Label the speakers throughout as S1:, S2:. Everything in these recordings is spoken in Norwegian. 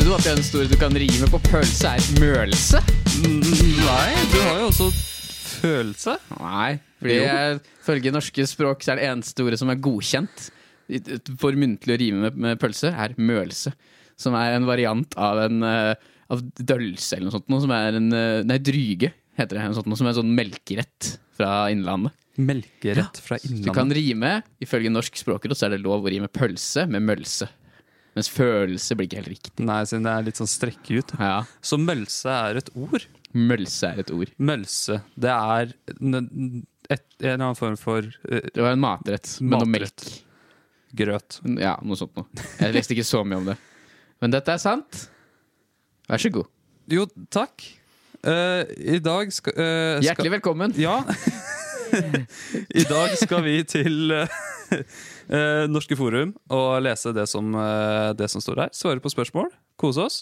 S1: du at den store du kan rime på pølse, er mølse?
S2: Nei, du har jo også følelse.
S1: Nei, fordi
S2: Jo.
S1: jeg, ifølge norske språk så er det eneste ordet som er godkjent i- for muntlig å rime med, med pølse, er mølse. Som er en variant av en eh, av dølse eller noe sånt. Noe, som er en, eh, nei, dryge heter det. Noe sånt, noe, som er en sånn melkerett fra Innlandet.
S2: Melkerett fra
S1: Du kan
S2: Innlandet.
S1: rime, ifølge norsk språkråd, så er det lov å rime pølse med mølse. Mens følelse blir ikke helt riktig.
S2: Nei, siden det er litt sånn strekke ut.
S1: Ja,
S2: Så mølse er et ord.
S1: Mølse er et ord.
S2: Mølse, det er n- et, en eller annen form for eh,
S1: Det var en matrett med noe melk.
S2: Matrett. grøt.
S1: Ja, noe sånt noe. Jeg leste ikke så mye om det. Men dette er sant. Vær så god.
S2: Jo, takk. Eh, I dag skal, eh, skal
S1: Hjertelig velkommen.
S2: Ja. I dag skal vi til eh, eh, Norske Forum og lese det som, eh, det som står der. Svare på spørsmål, kose oss.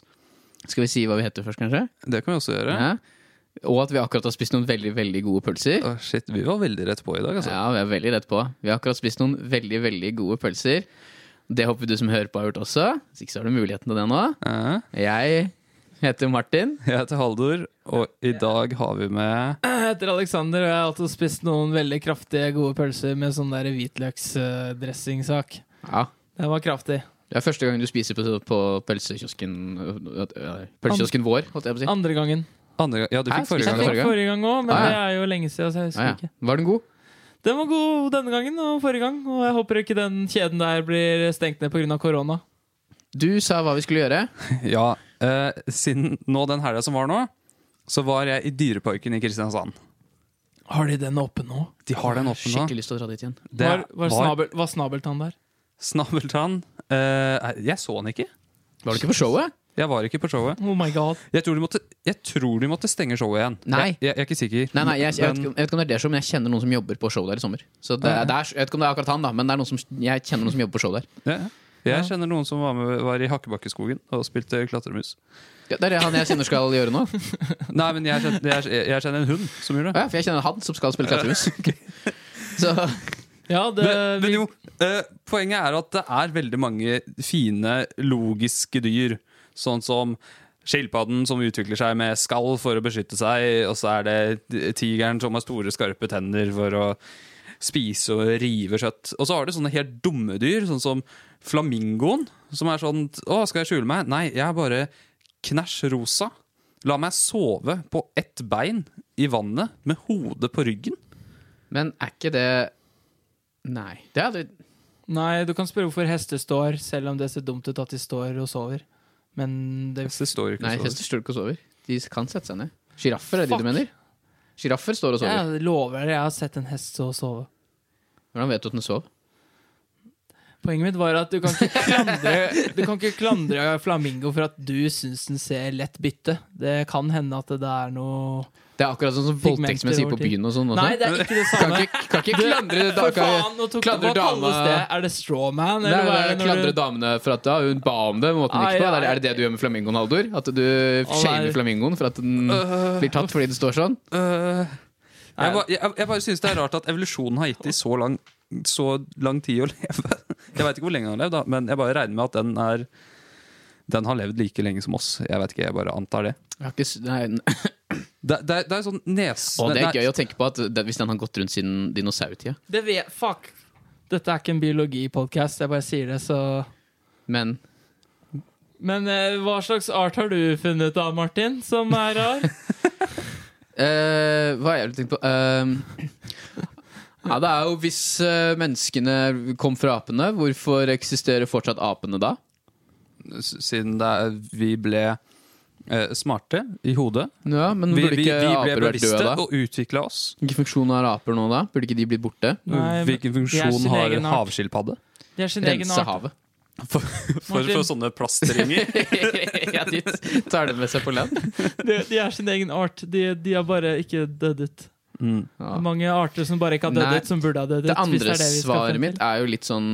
S1: Skal vi si hva vi heter først, kanskje?
S2: Det kan vi også gjøre.
S1: Ja. Og at vi akkurat har spist noen veldig veldig gode pølser.
S2: Å, shit, vi var veldig rett på i dag, altså.
S1: Ja, vi er veldig rett på. Vi har akkurat spist noen veldig veldig gode pølser. Det håper du som hører på har gjort også. Hvis ikke så har du muligheten til det nå.
S2: Eh,
S1: Jeg heter Martin.
S2: jeg heter Haldor, og i dag har vi med
S3: Jeg heter Alexander, og jeg har også spist noen veldig kraftige, gode pølser med sånn der hvitløksdressingsak.
S1: Ja,
S3: Den var kraftig.
S1: Det er første gang du spiser på, på pølsekiosken øh, Pølsekiosken vår, holdt jeg på å si.
S3: Andre gangen.
S2: andre gang. Ja, du
S1: Hæ,
S2: fikk forrige
S1: spiste jeg
S2: gang. da.
S3: Fikk forrige gang òg, men
S1: Ah, ja.
S3: det er jo lenge siden, så jeg husker
S1: Ah, ja.
S3: ikke.
S1: Var den god?
S3: Den var god denne gangen og forrige gang, og jeg håper ikke den kjeden der blir stengt ned pga. korona.
S1: Du sa hva vi skulle gjøre.
S2: Ja, eh, siden nå den helga som var nå, så var jeg i Dyreparken i Kristiansand.
S3: Har de den oppe nå?
S2: De har den åpen nå.
S1: Skikkelig lyst til å dra dit igjen.
S2: Det
S3: var, var, Snabel, var snabeltann der?
S2: Snabeltann. Eh, nei, jeg så den ikke.
S1: Var du ikke på showet?
S2: Jeg var ikke på showet.
S3: Oh my god.
S2: Jeg tror de måtte, jeg tror de måtte stenge showet igjen.
S1: Nei.
S2: Jeg, jeg, jeg er ikke sikker.
S1: Nei, nei, jeg, jeg, vet
S2: Men-
S1: ikke, om- jeg vet ikke om det er det show, men jeg kjenner noen som jobber på show der i sommer. Så det,
S2: Ja.
S1: det er, Jeg vet ikke om det er akkurat han, da, men det er noen som, jeg kjenner noen som jobber på show der.
S2: Ja, ja. Jeg kjenner noen som var, med, var i Hakkebakkeskogen og spilte klatremus.
S1: Ja, det er det han jeg kjenner skal gjøre nå. Å
S2: Nei, men jeg kjenner, jeg, jeg kjenner en hund som gjorde det.
S1: Ja, for jeg kjenner han som skal spille klatremus. Så
S3: Ja, det,
S2: Men, men
S3: vi,
S2: jo, eh, poenget er at det er veldig mange fine, logiske dyr. Sånn som skilpadden som utvikler seg med skall for å beskytte seg, og så er det tigeren som har store, skarpe tenner for å spise og rive kjøtt. Og så har du sånne helt dumme dyr, sånn som flamingoen, som er sånn Å, skal jeg skjule meg? Nei, jeg er bare knæsj rosa. La meg sove på ett bein i vannet med hodet på ryggen.
S1: Men er ikke det Nei. Det er, det-
S3: Nei, du kan spørre hvorfor hester står, selv om det ser dumt ut at de står og sover. Men det
S2: Det står jo ikke
S1: nei
S2: så-
S1: hester står ikke og sover. De kan sette seg ned. Sjiraffer er det
S3: Fuck.
S1: du mener? Sjiraffer står og sover.
S3: Jeg lover deg, jeg har sett en hest så sove.
S1: Hvordan vet du at den sov?
S3: Poenget mitt var at du kan ikke klandre, du kan ikke klandre flamingo for at du syns den ser lett bytte. Det kan hende at det er noe
S1: Det er akkurat sånn som
S3: Pigmenter
S1: voldtektsmenn sier på
S3: over tid.
S1: byen og sånn. også.
S3: Nei, det er ikke det
S1: Kan
S3: samme.
S1: ikke, kan ikke
S3: Du-
S1: klandre
S3: For
S1: kan-
S3: faen, nå tok,
S1: klandre
S3: hva kalles
S1: dama-
S3: det? Er det strawman?
S1: Nei,
S3: Eller hva
S1: det
S3: er
S1: er
S3: det når
S1: klandre
S3: du
S1: damene for at da, hun ba om det, men måten hun
S3: Ai,
S1: gikk på. Det
S3: ai.
S1: er- Er det det du gjør med flamingoen, Haldor? At du shamer
S3: nei.
S1: flamingoen for at den
S2: Øh.
S1: blir tatt fordi den står sånn?
S2: Øh, jeg, ba, jeg, jeg bare synes det er rart at evolusjonen har gitt dem så lang, så lang tid å leve. Jeg veit ikke hvor lenge den har levd, da, men jeg bare regner med at den er den har levd like lenge som oss. Jeg vet ikke, jeg bare antar det.
S1: Jeg har ikke s- nei, n-
S2: Det, det, er- det er sånn nes...
S1: Å, det er
S2: nei,
S1: gøy å tenke på at det, hvis den har gått rundt siden dinosaurtida.
S3: det vet, Fuck. Dette er ikke en biologipodkast, jeg bare sier det, så
S1: Men
S3: Men eh, hva slags art har du funnet da, Martin, som er rar?
S1: eh, hva har jeg tenkt på Eh, Ja, det er jo hvis eh, menneskene kom fra apene, hvorfor eksisterer fortsatt apene da?
S2: s- Siden det er, vi ble eh, smarte i hodet.
S1: Ja, men
S2: Vi,
S1: burde
S2: vi, vi
S1: ikke
S2: ble
S1: aper vært
S2: bevisste
S1: døde da?
S2: og utvikla oss.
S1: Hvilken funksjon har aper nå da? Burde ikke de blitt borte?
S3: Nei, men
S2: Hvilken
S3: er sin
S2: funksjon har
S3: egen art.
S2: havskilpadde?
S3: Det er sin egen
S1: Rense
S3: art.
S1: havet.
S2: For, for sånne plastringer.
S1: ja, de tar det med seg på land.
S3: De, de er sin egen art. De, de har bare ikke dødd ut.
S2: Mm.
S3: Det er Mange arter som bare ikke har dødd
S1: Nei,
S3: ut, som burde ha dødd
S1: Det
S3: ut. hvis
S1: andre
S3: er det vi skal frem
S1: svaret
S3: til.
S1: mitt er jo litt sånn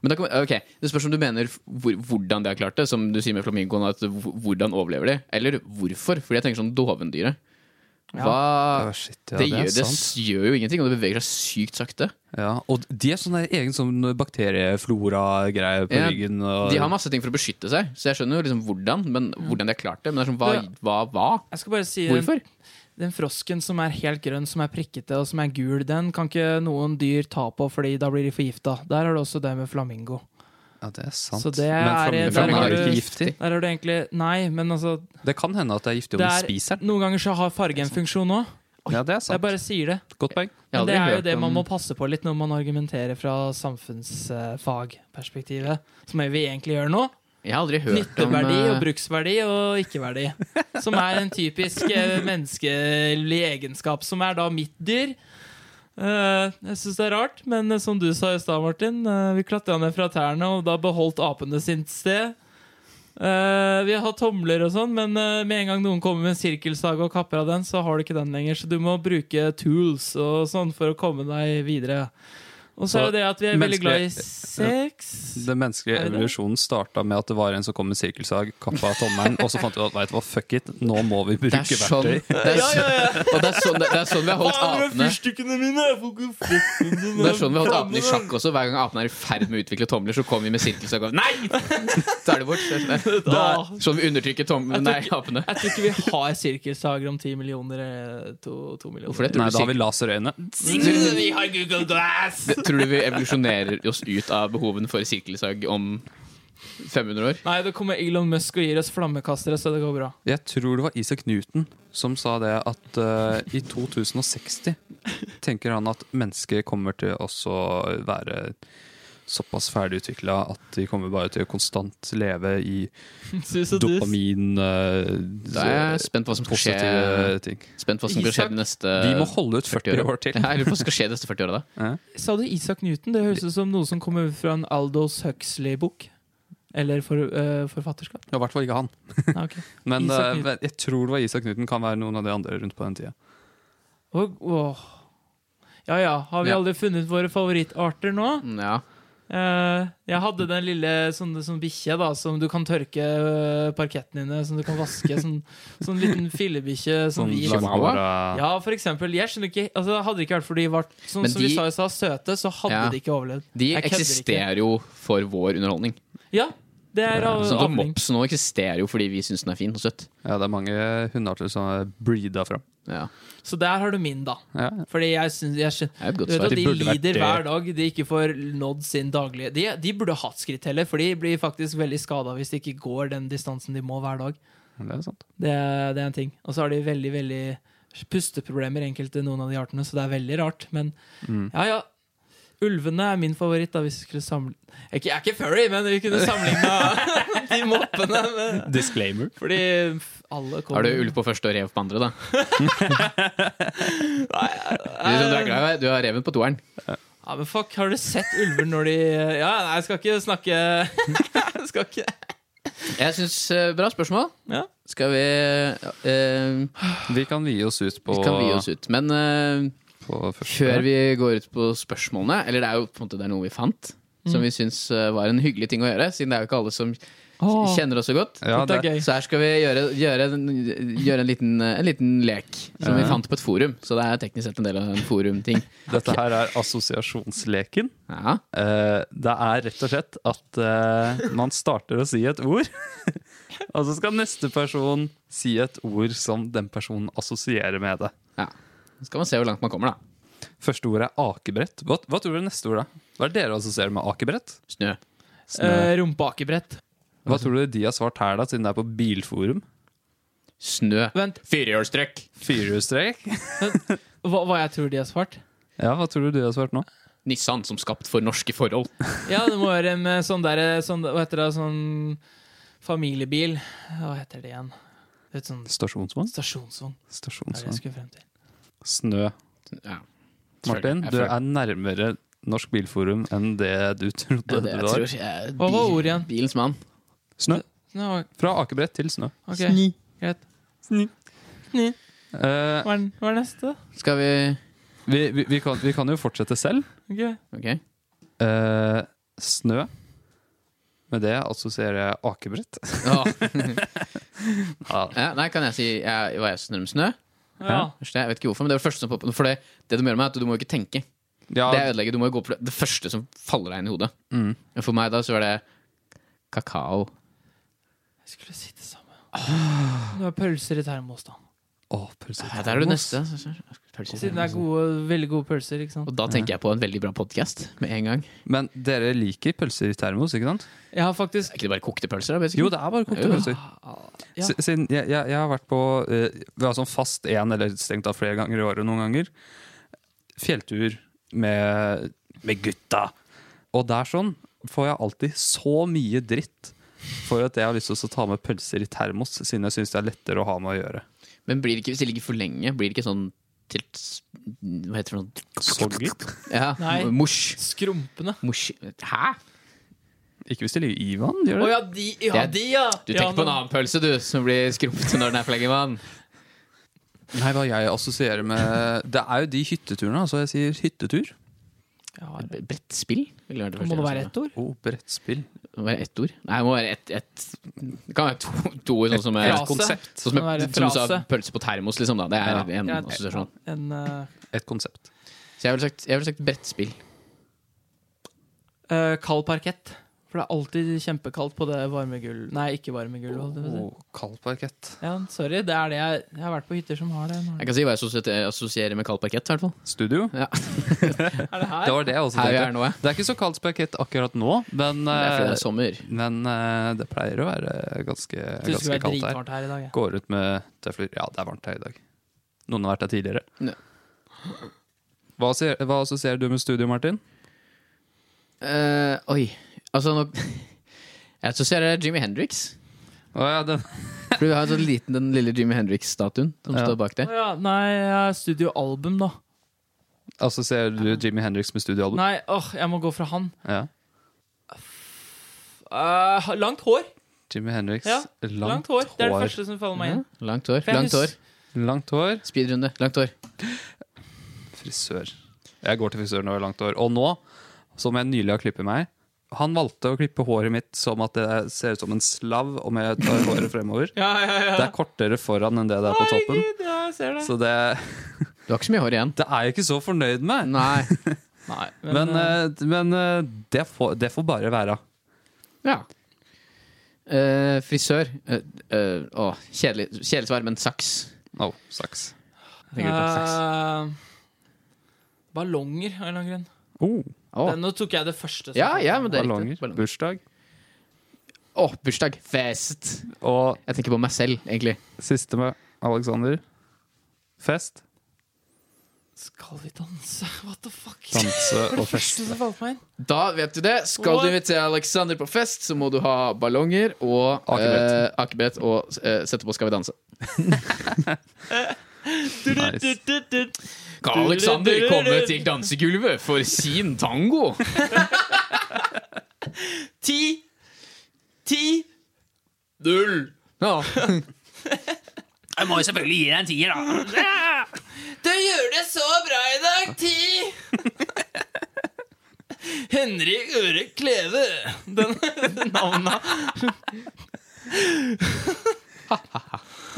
S1: men da kan, ok, Det spørs om du mener hvor, hvordan de har klart det, som du sier med flamingoen. At hvor- hvordan overlever de? Eller hvorfor? Fordi jeg tenker sånn dovendyret.
S3: Ja.
S1: Hva,
S2: Å, shit, ja,
S1: det,
S2: det er
S1: gjør, det
S2: sant.
S1: s- gjør jo ingenting, og det beveger seg sykt sakte.
S2: Ja, og de er sånn der egen sånn bakterieflora-greie på
S1: Ja,
S2: ryggen. Og,
S1: De har masse ting for å beskytte seg, så jeg skjønner jo liksom hvordan, men hvordan de har klart det. Men det er sånn, hva, hva, hva?
S3: Jeg skal bare si den,
S1: Hvorfor?
S3: den frosken som er helt grønn, som er prikkete og som er gul, den kan ikke noen dyr ta på, Fordi da blir de forgifta. Der har du også det med flamingo.
S2: ja, det er sant.
S3: Så det er-
S2: men
S3: der
S2: flamingo
S3: har
S2: er jo
S3: du-
S2: ikke giftig.
S3: Der har du egentlig Nei, men altså
S2: Det kan hende at det er giftig om
S3: Det
S2: du
S3: er-
S2: spiser den.
S3: Noen ganger så har farge en funksjon òg.
S2: Ja, det er
S3: Jeg
S2: sant.
S3: bare sier det.
S2: Godt poeng.
S1: Jeg har
S3: Men det
S1: aldri
S3: er jo
S1: hørt
S3: det man
S1: om-
S3: må passe på litt når man argumenterer fra samfunnsfagperspektivet. Som er vi egentlig gjør nå.
S1: Jeg har aldri hørt om
S3: Nytteverdi og
S1: eh,
S3: bruksverdi og ikke-verdi. Som er en typisk eh, menneskelig egenskap, som er da mitt dyr. Eh, jeg syns det er rart, men eh, som du sa i stad, Martin, eh, vi klatra ned fra tærne, og da beholdt apene sitt sted. Eh, vi har hatt tomler og sånn, men eh, med en gang noen kommer med en sirkelsag og kapper av den, så har du ikke den lenger. Så du må bruke tools og sånn for å komme deg videre. Og så
S2: Så
S3: er det det at vi er veldig glad i sex.
S2: Den menneskelige
S3: Er det det?
S2: evolusjonen starta med at det var en som kom med sirkelsag, kappa tommelen, og så fant vi ut at vet du hva, fuck it, nå må vi
S1: Det er
S2: bruke
S1: sånn,
S2: verktøy.
S1: det er, så- og det er sånn, det er sånn vi har holdt apene
S3: fyrstikkene mine? Jeg får ikke flytte dem.
S1: Det er sånn vi har holdt apene i sjakk også. Hver gang apene er i ferd med å utvikle tomler, så kommer vi med sirkelsag og Nei! Så er det bort. Det er sånn-
S3: Ah,
S1: Sånn vi undertrykker tom
S3: Jeg tror
S1: nei,
S3: ikke-
S1: apene.
S3: Jeg tror ikke vi har sirkelsager om ti millioner. eh, To, to millioner.
S1: Hvorfor det?
S2: Nei, da har vi laserøyne.
S3: Vi har Google Glass!
S1: Det- Tror du vi evolusjonerer oss ut av behoven for sirkelsag om 500 år?
S3: Nei, da kommer Elon Musk og gir oss flammekastere, så det går bra.
S2: Jeg tror det var Isak Newton som sa det at eh, i 2060 tenker han at mennesket kommer til å også være såpass ferdigutvikla at de kommer bare til å konstant leve i
S3: Sus og dus.
S2: dopamin eh,
S1: Da er jeg spent på hva som eh, skal skje,
S2: positive ting.
S1: spent på hva som skal skje de neste
S2: Vi må holde ut 40 år til.
S1: Ja, jeg lurer på hva som skal skje de neste 40 åra, da.
S3: Sa du Isak Newton? Det høres ut som noe som kommer fra en Aldous Huxley-bok. Eller for, eh, forfatterskap.
S2: Ja, I hvert fall ikke han.
S3: Nei, ok.
S2: Men
S3: Isak
S2: eh,
S3: Newton.
S2: jeg tror det var Isak Newton. Kan være noen av de andre rundt på den tida.
S3: og, åh. Ja ja, har vi
S2: Ja.
S3: aldri funnet våre favorittarter nå?
S1: Mm, Ja.
S3: Eh, jeg hadde den lille sånn, sånn bikkje da, som du kan tørke eh, parketten dine, som du kan vaske. sånn, sånn liten fillebikkje. Sånn
S2: Sånn
S3: vi-
S1: chihuahua?
S2: langhåra-
S3: ja, for eksempel. Jeg skjønner ikke, altså, hadde det ikke vært for de var sånn,
S1: Men
S3: som vi
S1: de-
S3: sa i stad, søte, så hadde
S1: Ja.
S3: de ikke overlevd.
S1: De
S3: Jeg kødder ikke.
S1: eksisterer jo for vår underholdning.
S3: Ja, det er av,
S1: Sånn som
S3: avling.
S1: mops nå eksisterer jo fordi vi syns den er fin og søt.
S2: Ja, det er mange hundearter som er breeda fram.
S1: Ja,
S3: Så der har du min, da.
S2: Ja.
S3: Fordi jeg syns jeg skjønner,
S1: det er et
S3: du
S1: godt
S3: vet
S1: svar.
S3: at De
S2: De burde vært
S3: lider
S2: det.
S3: hver dag de ikke får nådd sin daglige De, de burde ha skritteller, for de blir faktisk veldig skada hvis de ikke går den distansen de må hver dag.
S2: Det er sant.
S3: Det, er- det er en ting. Og så har de veldig, veldig pusteproblemer, enkelte noen av de artene, så det er veldig rart. Men
S2: Mm.
S3: ja, ja. Ulvene er min favoritt, da, hvis vi skulle samle Jeg er ikke- jeg er ikke furry, men vi kunne sammenligna de moppene. Med.
S2: Disclaimer.
S3: Fordi f- alle kommer
S1: Har du ulv på første og rev på andre, da? Du, som du, er glad, i, du har reven på toeren.
S3: Ja, men fuck, har du sett ulver når de Ja, nei, jeg skal ikke snakke Jeg skal ikke
S1: Jeg synes, eh, Bra spørsmål.
S3: Ja.
S1: Skal vi eh,
S2: Vi kan vie oss ut på,
S1: Vi kan vie oss ut. Men eh,
S2: på første.
S1: før vi går ut på spørsmålene Eller det er jo på en måte det er noe vi fant, som vi syns var en hyggelig ting å gjøre, siden det er jo ikke alle som
S3: Åh,
S1: kjenner oss så godt.
S2: ja,
S3: det er
S2: det,
S3: gøy.
S1: Så her skal vi gjøre, gjøre, en, gjøre en, liten, eh, en liten lek som vi
S2: Ja.
S1: fant på et forum. Så det er teknisk sett en del av en forumting.
S2: Dette her er assosiasjonsleken.
S1: Ja.
S2: Eh, det er rett og slett at eh, man starter å si et ord, og så skal neste person si et ord som den personen assosierer med det.
S1: Så skal man se hvor langt man kommer, da.
S2: Første ordet er akebrett. Hva, hva tror dere neste ord er? Hva er det dere assosierer med akebrett?
S1: Snø.
S3: eh, Rumpeakebrett.
S2: Hva tror dere de har svart her, da, siden det er på bilforum?
S1: Snø.
S3: Vent,
S1: Firehjulstrekk.
S2: Firehjulstrek?
S3: hva, hva jeg tror de har svart?
S2: Ja, hva tror du de har svart nå?
S1: Nissan som skapt for norske forhold.
S3: Ja, det må være med sånn der sånn, Hva heter det? Sånn familiebil. Hva heter det igjen? Det er sånn
S2: Stasjonsvogn?
S3: stasjonsvogn.
S1: Sånn.
S3: Det er det jeg
S2: Stasjonsvogn.
S3: skulle frem til.
S2: Snø.
S1: Ja.
S2: Martin,
S1: Jeg
S2: du
S1: føler-
S2: er nærmere Norsk Bilforum enn det du
S1: Det
S2: trodde
S1: er det
S2: du
S1: jeg
S2: var.
S1: tror. Jeg er
S3: Hva var ordet igjen?
S1: Bilens mann.
S2: Snø.
S3: Nå,
S2: Fra akebrett til snø.
S3: ok, greit.
S2: Eh,
S3: Hva er, hva er neste?
S1: Skal vi
S2: vi, vi, vi, kan, vi kan jo fortsette selv.
S3: Ok.
S1: Ok.
S2: Eh, snø. Med det assosierer jeg akebrett.
S1: Åh.
S2: Ja,
S1: Ja, nei, kan jeg si jeg, hva jeg syns om snø?
S3: Ja.
S1: Første, jeg vet ikke hvorfor, men det er det første som popper For det, det de gjør med, er at du må jo ikke tenke.
S2: Ja,
S1: Det er ødelegge, du må jo gå på det, det første som faller deg inn i hodet.
S2: Mm.
S1: Men For meg da så er det kakao.
S3: Jeg skulle si det samme. Du har pølser i termos, da.
S2: Å, pølse i
S1: Ja, der er det
S2: termos.
S1: neste. Pølser i
S3: Siden det er
S1: termos.
S3: gode, veldig gode pølser. ikke sant?
S1: Og da tenker jeg på en veldig bra podkast med en gang.
S2: Men dere liker pølser i termos, ikke sant?
S3: Jeg har faktisk
S1: Er ikke det bare kokte pølser? da, basically?
S2: Jo, det er bare kokte
S1: Ja.
S2: pølser.
S3: Ja.
S2: S- Siden jeg, jeg, jeg har vært på eh, Vi har sånn fast én, eller strengt tatt flere ganger i året noen ganger, fjelltur med, med gutta. Og der sånn får jeg alltid så mye dritt for at jeg har lyst til å ta med pølser i termos, siden jeg syns det er lettere å ha med å gjøre.
S1: Men blir det ikke, hvis det ligger for lenge, blir det ikke sånn til Hva heter det for noe? Ja,
S3: Nei.
S1: Mosj.
S3: Skrumpene.
S1: Mosj. Hæ?
S2: Ikke hvis det ligger i vann,
S3: Å
S2: gjør det?
S3: ja, de, ja,
S1: Det er-
S3: de, ja!
S1: Du tenker
S3: ja,
S1: på en
S3: men-
S1: annen pølse, du, som blir skrumpete når den er for lenge i vann.
S2: Nei, hva jeg assosierer med Det er jo de hytteturene, altså. Jeg sier hyttetur.
S3: Ja,
S1: B- Brettspill? Ville vært
S3: må
S1: første
S3: det
S1: jeg
S3: være
S1: sa.
S3: ett ord?
S2: Oh, brettspill.
S1: Det må være ett ord? Nei, det må være ett, ett. Det kan være to, to ord, sånn som er
S3: Frase.
S2: konsept.
S1: Sånn som,
S3: Må være
S1: jeg- som du sa,
S3: frase.
S1: pølse på termos, liksom. da Det er
S2: Ja.
S1: en
S3: Ja, et-
S1: assosiasjon.
S3: En, eh,
S2: Et konsept.
S1: Så jeg ville sagt, jeg ville sagt brettspill.
S3: eh, kald parkett. For det er alltid kjempekaldt på det varmegull... Nei, ikke varmegull. holdt jeg på å si.
S2: Oh, kald parkett.
S3: Ja, sorry. Det er det jeg, jeg har vært på hytter som har det.
S1: Jeg kan si hva jeg assosierer- assosierer med kald parkett, i hvert fall.
S2: Studio.
S3: Er det
S2: Det
S3: her?
S2: var det jeg også
S1: Her vi
S2: tenkte.
S1: er nå, ja.
S2: Det er ikke så kaldt spakett akkurat nå, men,
S1: Det er fordi
S2: eh,
S3: altså.
S1: det er sommer.
S2: men eh, det pleier å være ganske,
S3: Det skulle
S2: ganske
S3: være
S2: kaldt her.
S3: dritvarmt her i dag. jeg.
S2: Går ut med tøfler. Ja, det er varmt her i dag. Noen har vært her tidligere.
S1: Ja.
S2: Hva, ser, hva assosierer du med studio, Martin?
S1: Eh, oi. Altså, nå Jeg assosierer Jimmy Hendrix.
S2: Å ja, den
S1: For du har en sånn liten, den lille Jimmy Hendrix-statuen som
S2: Ja.
S1: står bak
S3: Å
S1: deg.
S3: ja, nei, jeg er studioalbum, da.
S2: assosierer du Jimmy Hendrix med studioalbum?
S3: Nei, åh, jeg må gå fra han.
S2: Ja.
S3: Eh, langt hår.
S2: Jimmy Hendrix,
S3: Ja,
S2: langt,
S3: Langt hår. Det er det første som faller meg inn.
S1: Mm. Langt hår.
S3: For jeg
S1: Langt hår.
S3: hus-
S2: Langt hår.
S1: Speedrunde. Langt hår.
S2: Frisør. Jeg går til frisør når jeg har langt hår. Og nå, som jeg nylig har klippet meg Han valgte å klippe håret mitt som at det ser ut som en slav om jeg tar håret fremover.
S3: Ja, ja, ja.
S2: Det er kortere foran enn det det er på toppen.
S3: Herregud, ja, jeg ser det.
S2: Så det,
S1: Du har ikke så mye hår igjen.
S2: det er jeg ikke så fornøyd med.
S1: Nei.
S3: Nei,
S2: Men, eh, men eh, det, får, det får bare være.
S1: Ja. Eh, frisør. Eh, eh, å, kjedelig, kjedelig svar, men saks.
S2: Å, saks.
S1: Tenker du på saks?
S3: eh, Ballonger, av en eller annen grunn.
S2: Oh,
S1: Å.
S3: Den- Nå tok jeg det første. som-
S1: Ja, ja, men det er
S2: ballonger.
S1: riktig. Ballonger.
S2: Bursdag.
S1: Å, bursdag. Fest.
S2: Og
S1: Jeg tenker på meg selv, egentlig.
S2: siste med Alexander. Fest.
S3: Skal vi danse? What the fuck? Det
S2: Danse
S3: var
S2: og
S3: det
S2: feste.
S3: første som falt meg inn.
S1: Da vet du det. Skal du
S3: What?
S1: invitere Alexander på fest, så må du ha ballonger og
S2: Akebrett.
S1: eh, akebrett og eh, sette på Skal vi danse.
S2: Nice.
S1: Skal Alexander komme til dansegulvet for sin tango?
S3: Ti! Ti!
S1: Null! Ja.
S4: Jeg må jo selvfølgelig gi deg en tier, da.
S3: Du gjør det så bra i dag, Ti! Henrik Øre Kleve. Den, den navnet.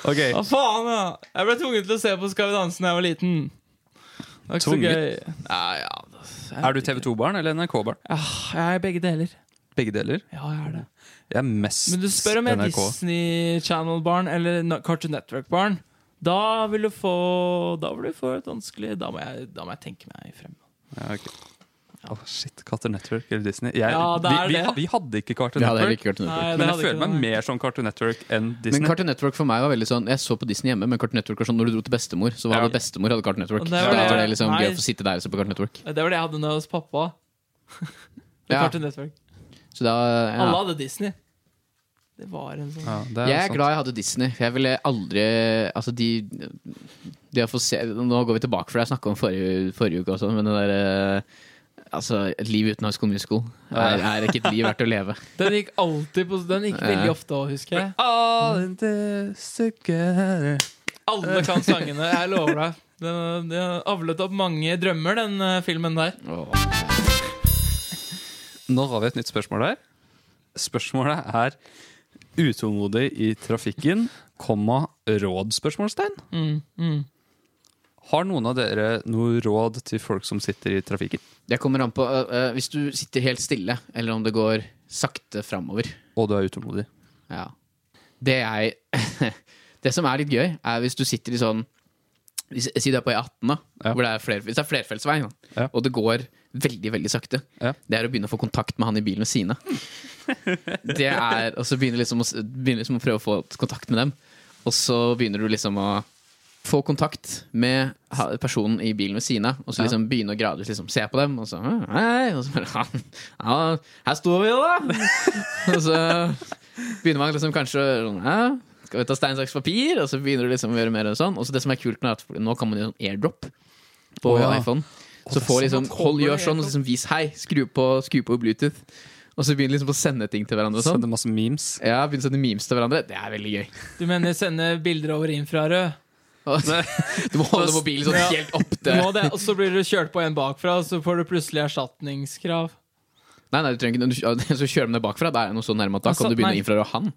S2: Ok,
S3: Hva faen, ja. Jeg ble tvunget til å se på Skal vi danse da jeg var liten. Det var ikke så
S2: Tvunget?
S3: gøy. Ja, ja.
S2: Er du TV 2-barn eller NRK-barn?
S3: Ah, Jeg er begge deler.
S2: Begge deler.
S3: Ja, jeg er det.
S2: Jeg er mest
S3: Men du spør om jeg er
S2: NRK.
S3: Disney Channel-barn eller na- Cartoon Network-barn. Da vil du få Da vil du få et vanskelig Da må jeg, da må jeg tenke meg frem.
S2: Ja, ok. Åh, shit, Cartoon Network eller Disney? Jeg,
S3: Ja, det er
S2: vi, vi,
S3: det.
S2: ha- vi hadde ikke Cartoon
S1: Vi hadde heller
S2: Network,
S1: ikke Cartoon Network.
S3: Nei, det
S2: men jeg
S3: hadde ikke
S2: føler meg
S3: det.
S2: mer som Cartoon Network enn
S1: Men
S2: Disney.
S1: Cartoon Network for meg var veldig sånn Jeg så på Disney hjemme, men Cartoon Network var sånn når du dro til bestemor, så hadde
S2: Ja.
S1: bestemor hadde Cartoon Network.
S3: Og det
S1: Da
S3: var det-
S1: var det liksom
S3: nei.
S1: gøy å få sitte der og se på Cartoon Network.
S3: Det var det jeg hadde nå hos pappa.
S1: Ja.
S3: Cartoon Network.
S1: Så da, ja.
S3: Alle hadde Disney. Det var en sånn
S2: Ja, det
S1: Jeg er
S2: sant.
S1: glad jeg hadde Disney, for jeg ville aldri Altså, de, de å få se, Nå går vi tilbake, for det jeg snakka om forrige, forrige uke også, men det derre Altså, et liv uten High School Musical er, er ikke et liv verdt å leve.
S3: Den gikk alltid på Den gikk veldig
S1: Ja.
S3: ofte òg, husker jeg.
S2: All in this together.
S3: Alle kan sangene, jeg lover deg. Den, den har avlet opp mange drømmer, den eh, filmen der.
S2: Nå har vi et nytt spørsmål her. Spørsmålet er
S3: Mm,
S2: utålmodig i trafikken, komma råd? spørsmålstegn. Har noen av dere noe råd til folk som sitter i trafikken?
S1: Det kommer an på øh, øh, hvis du sitter helt stille, eller om det går sakte framover.
S2: Og du er utålmodig.
S1: Ja. Det jeg Det som er litt gøy, er hvis du sitter i sånn hvis- Si du er på E18, da.
S2: Ja.
S1: Hvor det er fler, hvis det er flerfeltsvei, da,
S2: Ja.
S1: og det går veldig veldig sakte,
S2: Ja.
S1: det er å begynne å få kontakt med han i bilen ved siden av. Det er, og så begynner liksom å, s- begynner liksom å prøve å få kontakt med dem. Og så begynner du liksom å få kontakt med ha- personen i bilen ved siden av. Og så
S2: Ja.
S1: liksom begynne å gradvis liksom se på dem, og så Hei! Og så bare Ja, ja her står vi jo, da! og så begynner man liksom kanskje sånn, «Hæ? Skal vi ta stein, saks, papir? Og så begynner du liksom å gjøre mer og sånn. Og så det som er kult nå, er at nå kan man gjøre sånn airdrop på
S2: Å, ja.
S1: iPhone. Så
S2: det er
S1: får
S2: sånn
S1: liksom
S3: at
S1: Hold,
S3: kommer
S1: gjør sånn, og
S3: airdrop.
S1: så liksom vis hei. Skru på, skru på Bluetooth. Og så begynner liksom å sende ting til hverandre og sånn.
S2: Sender masse memes.
S1: Ja, begynner å sende memes til hverandre. Det er veldig gøy.
S3: Du mener sende bilder over infrarød?
S1: Og, du må holde mobilen sånn
S3: Ja.
S1: helt opp
S3: Du
S1: til
S3: må det, og så blir du kjørt på en bakfra, og så får du plutselig erstatningskrav.
S1: Nei, nei, du trenger ikke når du- Så kjører de deg bakfra. Da er det noe så nærme at da
S3: Altså,
S1: kan du begynne å
S3: nei.
S1: infrarøde han.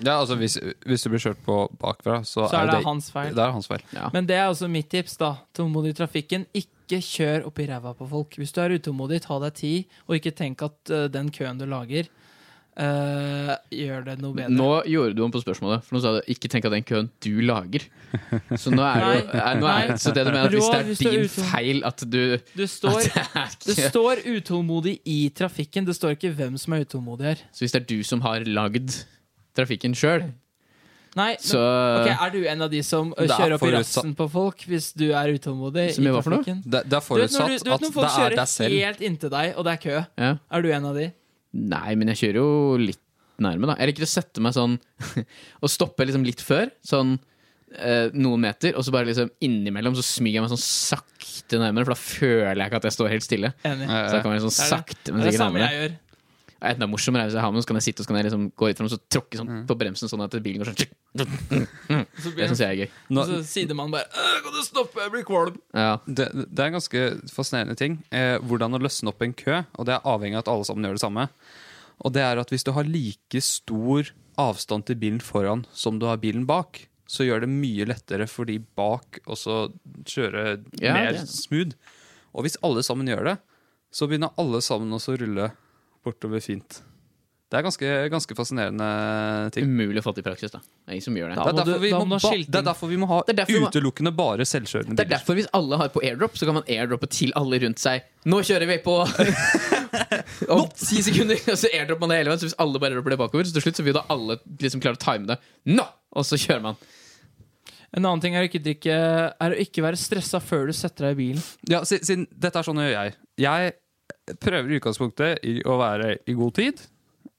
S2: Ja, altså hvis, hvis du blir kjørt på bakfra, så,
S3: Så er det
S2: jo
S3: hans feil.
S2: Det er hans feil.
S1: Ja.
S3: Men det er også mitt tips, da. Tålmodig i trafikken. Ikke kjør oppi ræva på folk. Hvis du er utålmodig, ta deg tid, og ikke tenk at eh, den køen du lager, eh, gjør det noe bedre.
S1: Nå gjorde du om på spørsmålet, for nå sa du 'ikke tenk at den køen du lager'. Så nå er det jo
S3: Nei.
S1: eh, nå er,
S3: Nei.
S1: Så det du mener, er at
S3: Rå,
S1: hvis
S3: hvis
S1: det er
S3: du er
S1: din
S3: utom-
S1: feil at du
S3: Det står,
S1: at
S3: det
S1: det er ikke,
S3: står utålmodig i trafikken. Det står ikke hvem som er utålmodig her.
S1: Så hvis det er du som har lagd trafikken sjøl,
S3: Nei, men-
S1: så eh,
S3: ok, Er du en av de som eh,
S2: Det er
S3: kjører opp i
S2: forutsatt-
S3: rassen på folk hvis du er utålmodig
S1: Som
S3: i
S1: gjør hva for noe?
S3: trafikken?
S2: Det, det er
S3: Du vet når,
S2: forutsatt
S3: du, du vet når folk
S2: at det er
S3: kjører
S2: deg selv.
S3: helt inntil deg, og det er kø.
S1: ja.
S3: Er du en av de?
S1: Nei, men jeg kjører jo litt nærme, da. Jeg rekker å sette meg sånn og stoppe liksom litt før. Sånn eh, noen meter, og så bare liksom innimellom så smyger jeg meg sånn sakte nærmere, for da føler jeg ikke at jeg står helt stille.
S3: Enig.
S2: Ja, ja.
S1: Så da kommer jeg sånn
S3: Det er
S1: sakte, men
S3: det er det
S1: sikkert
S3: samme
S1: nærmere.
S3: jeg gjør.
S1: Ja, Enten det er morsommere er hvis jeg har med, så kan jeg sitte og så kan jeg liksom gå litt frem og så tråkke sånn
S3: Mm.
S1: på bremsen sånn at bilen går sånn tsk.
S3: Så
S1: Det
S3: blir
S1: syns jeg er gøy.
S2: Nå,
S3: Og så sidemannen bare «Øh, Kan du stoppe, jeg blir kvalm
S1: Ja.
S2: det, det er en ganske fascinerende ting. Eh, hvordan å løsne opp en kø. Og det er avhengig av at alle sammen gjør det samme. Og det er at hvis du har like stor avstand til bilen foran som du har bilen bak, så gjør det mye lettere for de bak også kjøre
S1: Ja,
S2: mer
S1: det-
S2: smooth. Og hvis alle sammen gjør det, så begynner alle sammen også å rulle bortover fint. Det er ganske, ganske fascinerende ting.
S1: Umulig å få til i praksis, da. Det er ingen som gjør det.
S3: Da
S2: Det er
S3: må du-
S2: derfor vi
S3: da
S2: må,
S3: må du ha
S2: ba-
S3: skilting.
S2: det er derfor vi må ha
S1: Det er derfor vi må-
S2: utelukkende bare selvkjørende
S1: Det er
S2: biler.
S1: derfor hvis alle har på airdrop, så kan man airdroppe til alle rundt seg. Nå kjører vi på! Om ti sekunder, og så airdropper man det hele veien. Så hvis alle bare airdropper det bakover, så til slutt så vil da alle liksom klare å time det. Nå! Og så kjører man.
S3: En annen ting er å ikke drikke Er å ikke være stressa før du setter deg i bilen
S2: Ja, si- siden dette er sånn jeg gjør jeg. Jeg prøver i utgangspunktet i å være i god tid.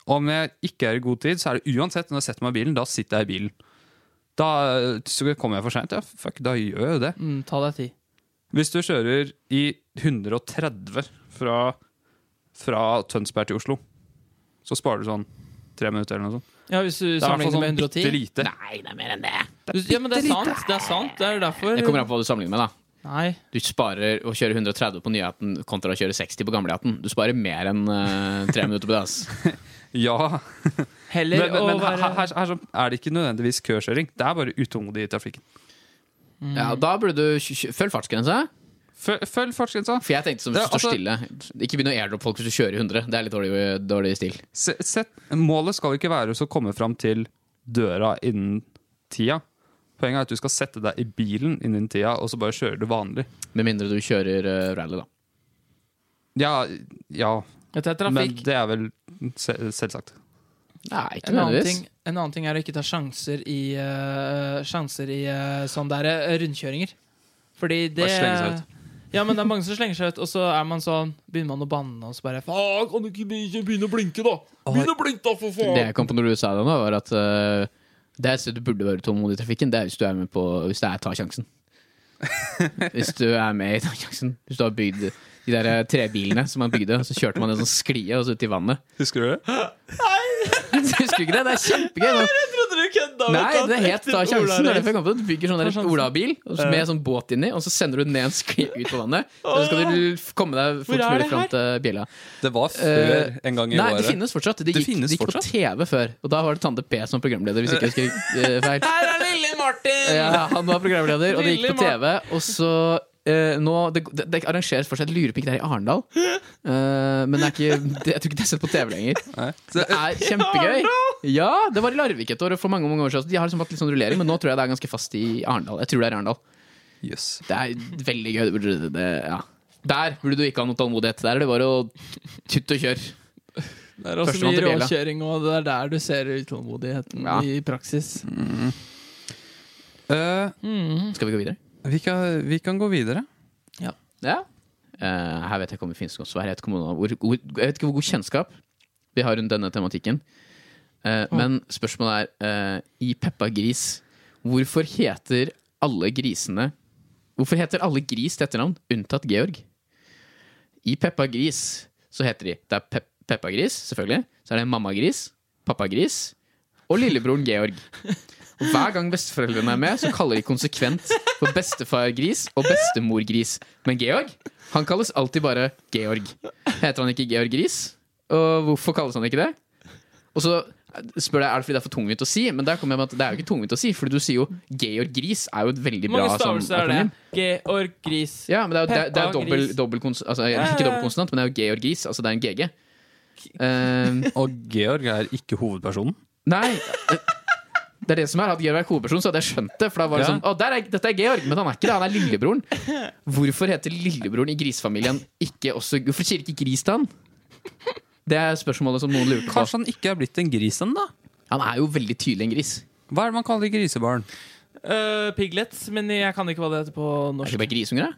S2: Om jeg ikke er i god tid, så er det uansett når jeg setter meg i bilen, da sitter jeg i bilen. Da eh, så kommer jeg for seint. Ja, fuck, da gjør jeg jo det.
S3: mm, Ta deg tid
S2: Hvis du kjører i 130 fra, fra Tønsberg til Oslo, så sparer du sånn tre minutter eller noe sånt.
S3: Ja, hvis du
S2: Det er i hvert
S3: sammenligner
S2: fall
S3: med
S2: sånn bitte
S3: 110
S2: lite.
S1: Nei, det er mer enn det.
S3: Du- Ja, men det er sant, det er sant Det er jo derfor
S1: Det kommer an på hva du sammenligner med, da.
S3: Nei,
S1: Du sparer å kjøre 130 på nyheten kontra å kjøre 60 på gamlehatten. Du sparer mer enn eh, tre minutter på det. ass.
S2: Ja, men,
S3: heller
S2: men, men her,
S3: å være
S2: her, her så er det ikke nødvendigvis køkjøring. Det er bare utålmodig i trafikken.
S3: Mm.
S1: Ja, da burde du kj- kj- Følg fartsgrensa.
S2: Følg, følg fartsgrensa.
S1: For jeg tenkte som hvis
S2: Ja,
S1: du står
S2: altså-
S1: stille Ikke begynn å airdrop folk hvis du kjører i 100. Det er litt dårlig, dårlig stil.
S2: Se- sett, målet skal ikke være å komme fram til døra innen tida. Poenget er at du skal sette deg i bilen innen tida, og så bare kjører du vanlig.
S1: Med mindre du kjører eh, rally, da.
S2: Ja, ja
S3: Dette er
S2: men
S3: trafikk
S2: det er vel se- selvsagt.
S1: Nei, ikke
S3: en annen, ting,
S1: nødvendigvis.
S3: en annen ting er å ikke ta sjanser i eh, Sjanser i eh, sånn der eh, rundkjøringer Fordi det
S2: slenge seg ut.
S3: Ja, men det er mange som slenger seg ut Og så er man sånn Begynner man å banne Og så bare Faen, kan du ikke begynne å blinke da Begynne å blinke da, for
S1: Det
S3: faen
S1: jeg kom på når du sa det nå, var at eh, det er et sted du burde være tålmodig i trafikken, det er hvis du er med på Hvis det er Ta sjansen. Hvis du er med i Ta sjansen. Hvis du har bygd de der eh, trebilene som man bygde, så kjørte man en sånn sklie og så ut i vannet.
S2: Husker du det?
S1: Husker du ikke det? Det er kjempegøy. nå.
S3: Trodde du kødda
S1: Nei,
S3: vet du,
S1: det
S3: at
S1: er helt
S3: ekte
S1: Ta sjansen. Det er
S3: Ola-reis.
S1: derfor jeg kom på det. Du bygger sånn
S3: Ta
S1: der
S3: sjansen.
S1: Olabil med sånn båt inni, og så sender du den ned en skli ut på vannet. Og så skal du l- komme deg
S3: Hvor
S1: fort
S3: er
S1: mulig
S3: det
S1: fram til bjella.
S2: Det var før
S1: Eh,
S2: en gang i
S1: Nei, det
S2: året.
S1: finnes fortsatt. Det
S2: Det
S1: gikk,
S2: finnes
S1: det gikk på
S2: fortsatt?
S1: TV før, og da var det Tante P som programleder, hvis ikke jeg husker eh, feil.
S3: Her er lille Martin!
S1: Ja, han var programleder, og det gikk på TV. Og så eh, nå, det, det, det arrangeres fortsatt lurepikk der i Arendal. Eh, men det er ikke, det, jeg tror ikke det er sett på TV lenger.
S2: Nei.
S1: Det er kjempegøy. Ja, Det var i Larvik et år for mange mange år siden. De har liksom hatt litt sånn rullering, men nå tror jeg det er ganske fast i Arendal. Jeg tror Det er i Arendal
S2: Jøss.
S1: Det er veldig gøy. Det burde, det- det, ja. Der burde du ikke ha noe tålmodighet. Der er det bare å tutt og kjør.
S3: Det er
S1: Førstemann
S3: også mye
S1: til bjella.
S3: råkjøring, og det er der du ser utålmodigheten
S1: Ja.
S3: i praksis.
S2: Eh,
S1: Skal vi gå videre?
S2: vi, kan, vi kan gå videre.
S1: Ja. Eh, her vet jeg ikke om det finnes noe svar. Jeg vet ikke, om noe, hvor, hvor, jeg vet ikke hvor god kjennskap vi har rundt denne tematikken. Eh, Men spørsmålet er, eh, i Peppa Gris, hvorfor heter alle grisene Hvorfor heter alle gris til etternavn, unntatt Georg? I Peppa Gris så heter de Det er Pe Peppa Gris, selvfølgelig. Så er det Mamma Gris, Pappa Gris og lillebroren Georg. Og Hver gang besteforeldrene er med, så kaller de konsekvent for bestefargris og bestemorgris. Men Georg han kalles alltid bare Georg. Heter han ikke Georg Gris? Og hvorfor kalles han ikke det? Og så spør jeg, Er det fordi det er for tungvint å si? Men der kommer jeg med at det er jo ikke tungvint å si, Fordi du sier jo Georg Gris er jo et veldig
S3: Hvor
S1: bra
S3: mange
S1: sånn
S3: stavelser er det?
S1: akronym.
S3: Georg Gris.
S1: Ja, men det er jo det, det er
S3: Peppa
S1: dobbel,
S3: Gris.
S1: dobbel kons altså,
S3: ja,
S1: Ikke
S3: ja.
S1: dobbel konsonant, men det er jo Georg Gris. Altså det er en GG. Eh,
S2: Og Georg er ikke hovedpersonen.
S1: nei eh, Det er det som er. Hadde Georg vært hovedperson, så hadde jeg skjønt det. For da var det
S2: Ja.
S1: sånn, å, der er, dette er Georg, men han er ikke det, han er lillebroren. Hvorfor heter lillebroren i grisfamilien ikke også Hvorfor sier ikke gris til han? Det er spørsmålet som noen lurer på.
S2: Kanskje han ikke er blitt en gris ennå?
S1: Han er jo veldig tydelig en gris.
S2: Hva er det man kaller grisebarn?
S3: Eh, piglets, men jeg kan ikke hva det heter på
S1: Er det
S3: norsk.
S1: ikke bare grisunger, da?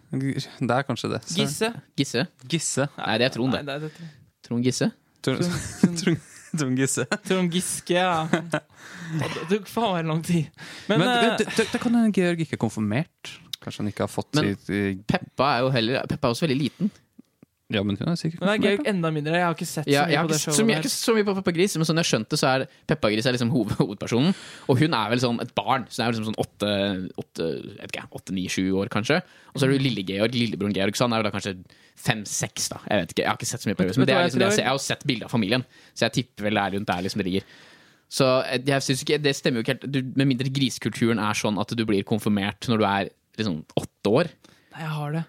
S2: Det er kanskje det. Så-
S3: Gisse.
S1: Gisse?
S2: Gisse.
S1: Nei, det er Trond, det.
S3: Nei, det er dette.
S1: Trond Gisse?
S2: Trond Trond- Trond Gisse.
S3: Trond Giske, ja. Det tok faen meg lang tid. Men,
S2: Men
S3: eh,
S2: det, det, det kan hende Georg ikke er konfirmert. Kanskje han ikke har fått
S1: Men-
S2: sitt eh,
S1: Peppa er jo heller Peppa er også veldig liten.
S2: Ja, men hun er sikkert
S3: men det er
S2: konfirmert.
S3: Georg enda mindre. Jeg har ikke sett så
S1: Ja,
S3: mye
S1: jeg har
S3: på
S1: ikke
S3: det
S1: sett så mye,
S3: showet.
S1: ikke
S3: der.
S1: så mye på Peppa Gris, men sånn jeg skjønte, så er Peppa Gris er liksom hoved, hovedpersonen. Og hun er vel sånn et barn, så hun er vel liksom sånn åtte, åtte, jeg vet ikke, åtte, ni, sju år, kanskje. Og så er det jo lille Georg, lillebroren Georg, så han er vel da kanskje fem-seks, da. Jeg vet ikke, jeg har ikke sett så mye på Peppa Gris, men det er liksom det jeg ser. Jeg har jo sett bilder av familien, så jeg tipper vel det er rundt der liksom det ligger. Så jeg- jeg synes ikke, det stemmer jo ikke helt, du, med mindre griskulturen er sånn at du blir konfirmert når du er liksom åtte år.
S3: Nei, jeg har det.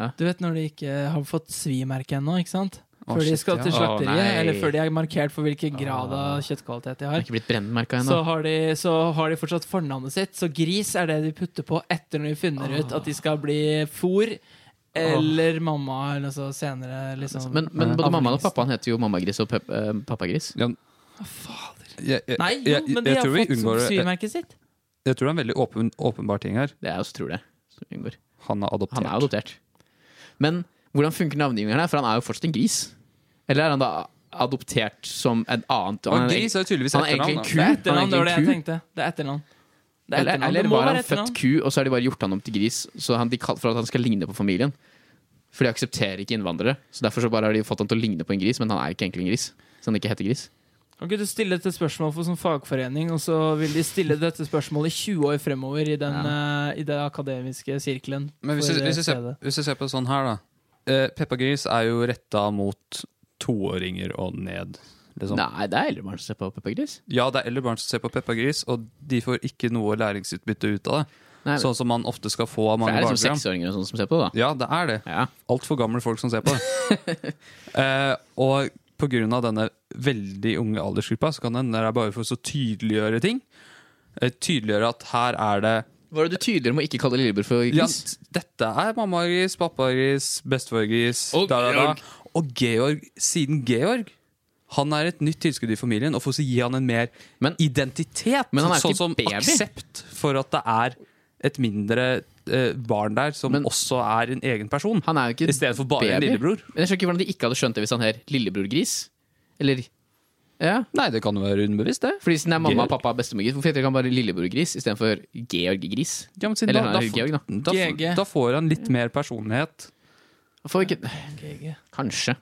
S1: Hæ?
S3: Du vet når de ikke har fått svimerke ennå, ikke sant?
S2: Å,
S3: Før de
S2: shit,
S3: skal
S2: ja.
S3: til
S1: Å,
S3: slakteriet,
S1: nei.
S3: eller før de er markert for hvilken grad av kjøttkvalitet de
S1: Jeg har
S3: har.
S1: ikke blitt brennmerka
S3: så
S1: ennå.
S3: har, de, så har de fortsatt fornavnet sitt. Så gris er det de putter på etter når de finner ut at de skal bli fôr eller mamma eller noe så senere. Liksom.
S1: Men, men både
S3: Avlings-
S1: mammaen og pappaen heter jo mammagris og pep, eh, pappagris.
S2: Ja, men-
S3: Fader.
S2: Jeg, jeg,
S3: Nei, jo,
S2: jeg,
S3: men
S2: jeg,
S3: de
S2: jeg, tror vi
S3: har fått
S2: unngår, jeg,
S3: syvmerket sitt.
S2: jeg tror det er en veldig åpen, åpenbar ting her.
S1: Det er jeg også tror det. som inngår.
S2: Han er adoptert.
S1: Han er adoptert. Men hvordan funker navngivningen her? For han er jo fortsatt en gris. Eller er han da adoptert som en annet
S2: Og
S1: han er
S2: gris er tydeligvis
S1: han er
S2: etternavn,
S1: egentlig
S2: da.
S1: ku.
S3: Det er
S1: Han er
S3: etternavn, det var det jeg
S1: egentlig en ku.
S3: tenkte. Det er etternavn. Det er
S1: Eller,
S3: etternavn.
S1: eller
S3: det må
S1: var han
S3: være
S1: født
S3: etternavn.
S1: ku, og så har de bare gjort han om til gris så han, de kal- for at han skal ligne på familien? For de aksepterer ikke innvandrere. Så derfor så bare har de fått han til å ligne på en gris, men han er ikke egentlig en gris. Så han ikke heter gris.
S3: Kan ikke du stille dette spørsmålet for sånn fagforening, og så vil de stille dette spørsmålet i 20 år fremover i den, eh, i den akademiske sirkelen?
S2: Men hvis
S3: for
S2: du,
S3: det
S2: hvis, du ser,
S1: eh,
S3: stedet.
S2: hvis du ser på det sånn her, da. Eh, Peppa Gris er jo retta mot toåringer og ned. Liksom.
S1: Nei, det er Ellemann som ser på Peppa Gris.
S2: Ja, det er eldre barn som ser på Peppa Gris, og de får ikke noe læringsutbytte ut av det.
S1: Nei,
S2: Sånn som man ofte skal få
S1: for
S2: av
S1: det
S2: mange
S1: er liksom
S2: barneprogram.
S1: seksåringer og sånn som ser på det, da.
S2: Ja, det er det.
S1: Ja.
S2: Altfor gamle folk som ser på det. eh, og pga. denne veldig unge aldersgruppa, så kan det hende det er bare for å så tydeliggjøre ting. Eh, tydeliggjøre at her er det
S1: Var det du tydeligere med å ikke kalle lillebror for
S2: ja,
S1: gris?
S2: Dette er mammagris, pappagris, bestefargris
S1: Og
S2: da, da, da.
S1: Georg.
S2: Og Georg, siden Georg han er et nytt tilskudd i familien, og for å gi han en mer
S1: Men-
S2: identitet.
S1: Men han er jo
S2: sånn
S1: ikke
S2: som
S1: baby.
S2: aksept for at det er et mindre eh, barn der som
S1: Men-
S2: også er en egen person.
S1: Han er jo ikke
S2: I stedet for bare en lillebror.
S1: Men jeg skjønner ikke hvordan de ikke hadde skjønt det hvis han her lillebror-gris. Eller Ja.
S2: Nei, det kan jo være underbevisst, det.
S1: Fordi siden det er mamma,
S2: Georg.
S1: pappa og bestemorgris, hvorfor heter han bare lillebror-gris istedenfor Georg-gris?
S2: Ja, men siden
S1: Eller
S2: da,
S1: han
S2: da,
S1: er
S2: f-
S1: Georg, da.
S2: da, f-
S3: GG.
S2: da får han litt mer personlighet.
S1: Hvorfor ikke
S3: GG.
S1: Kanskje.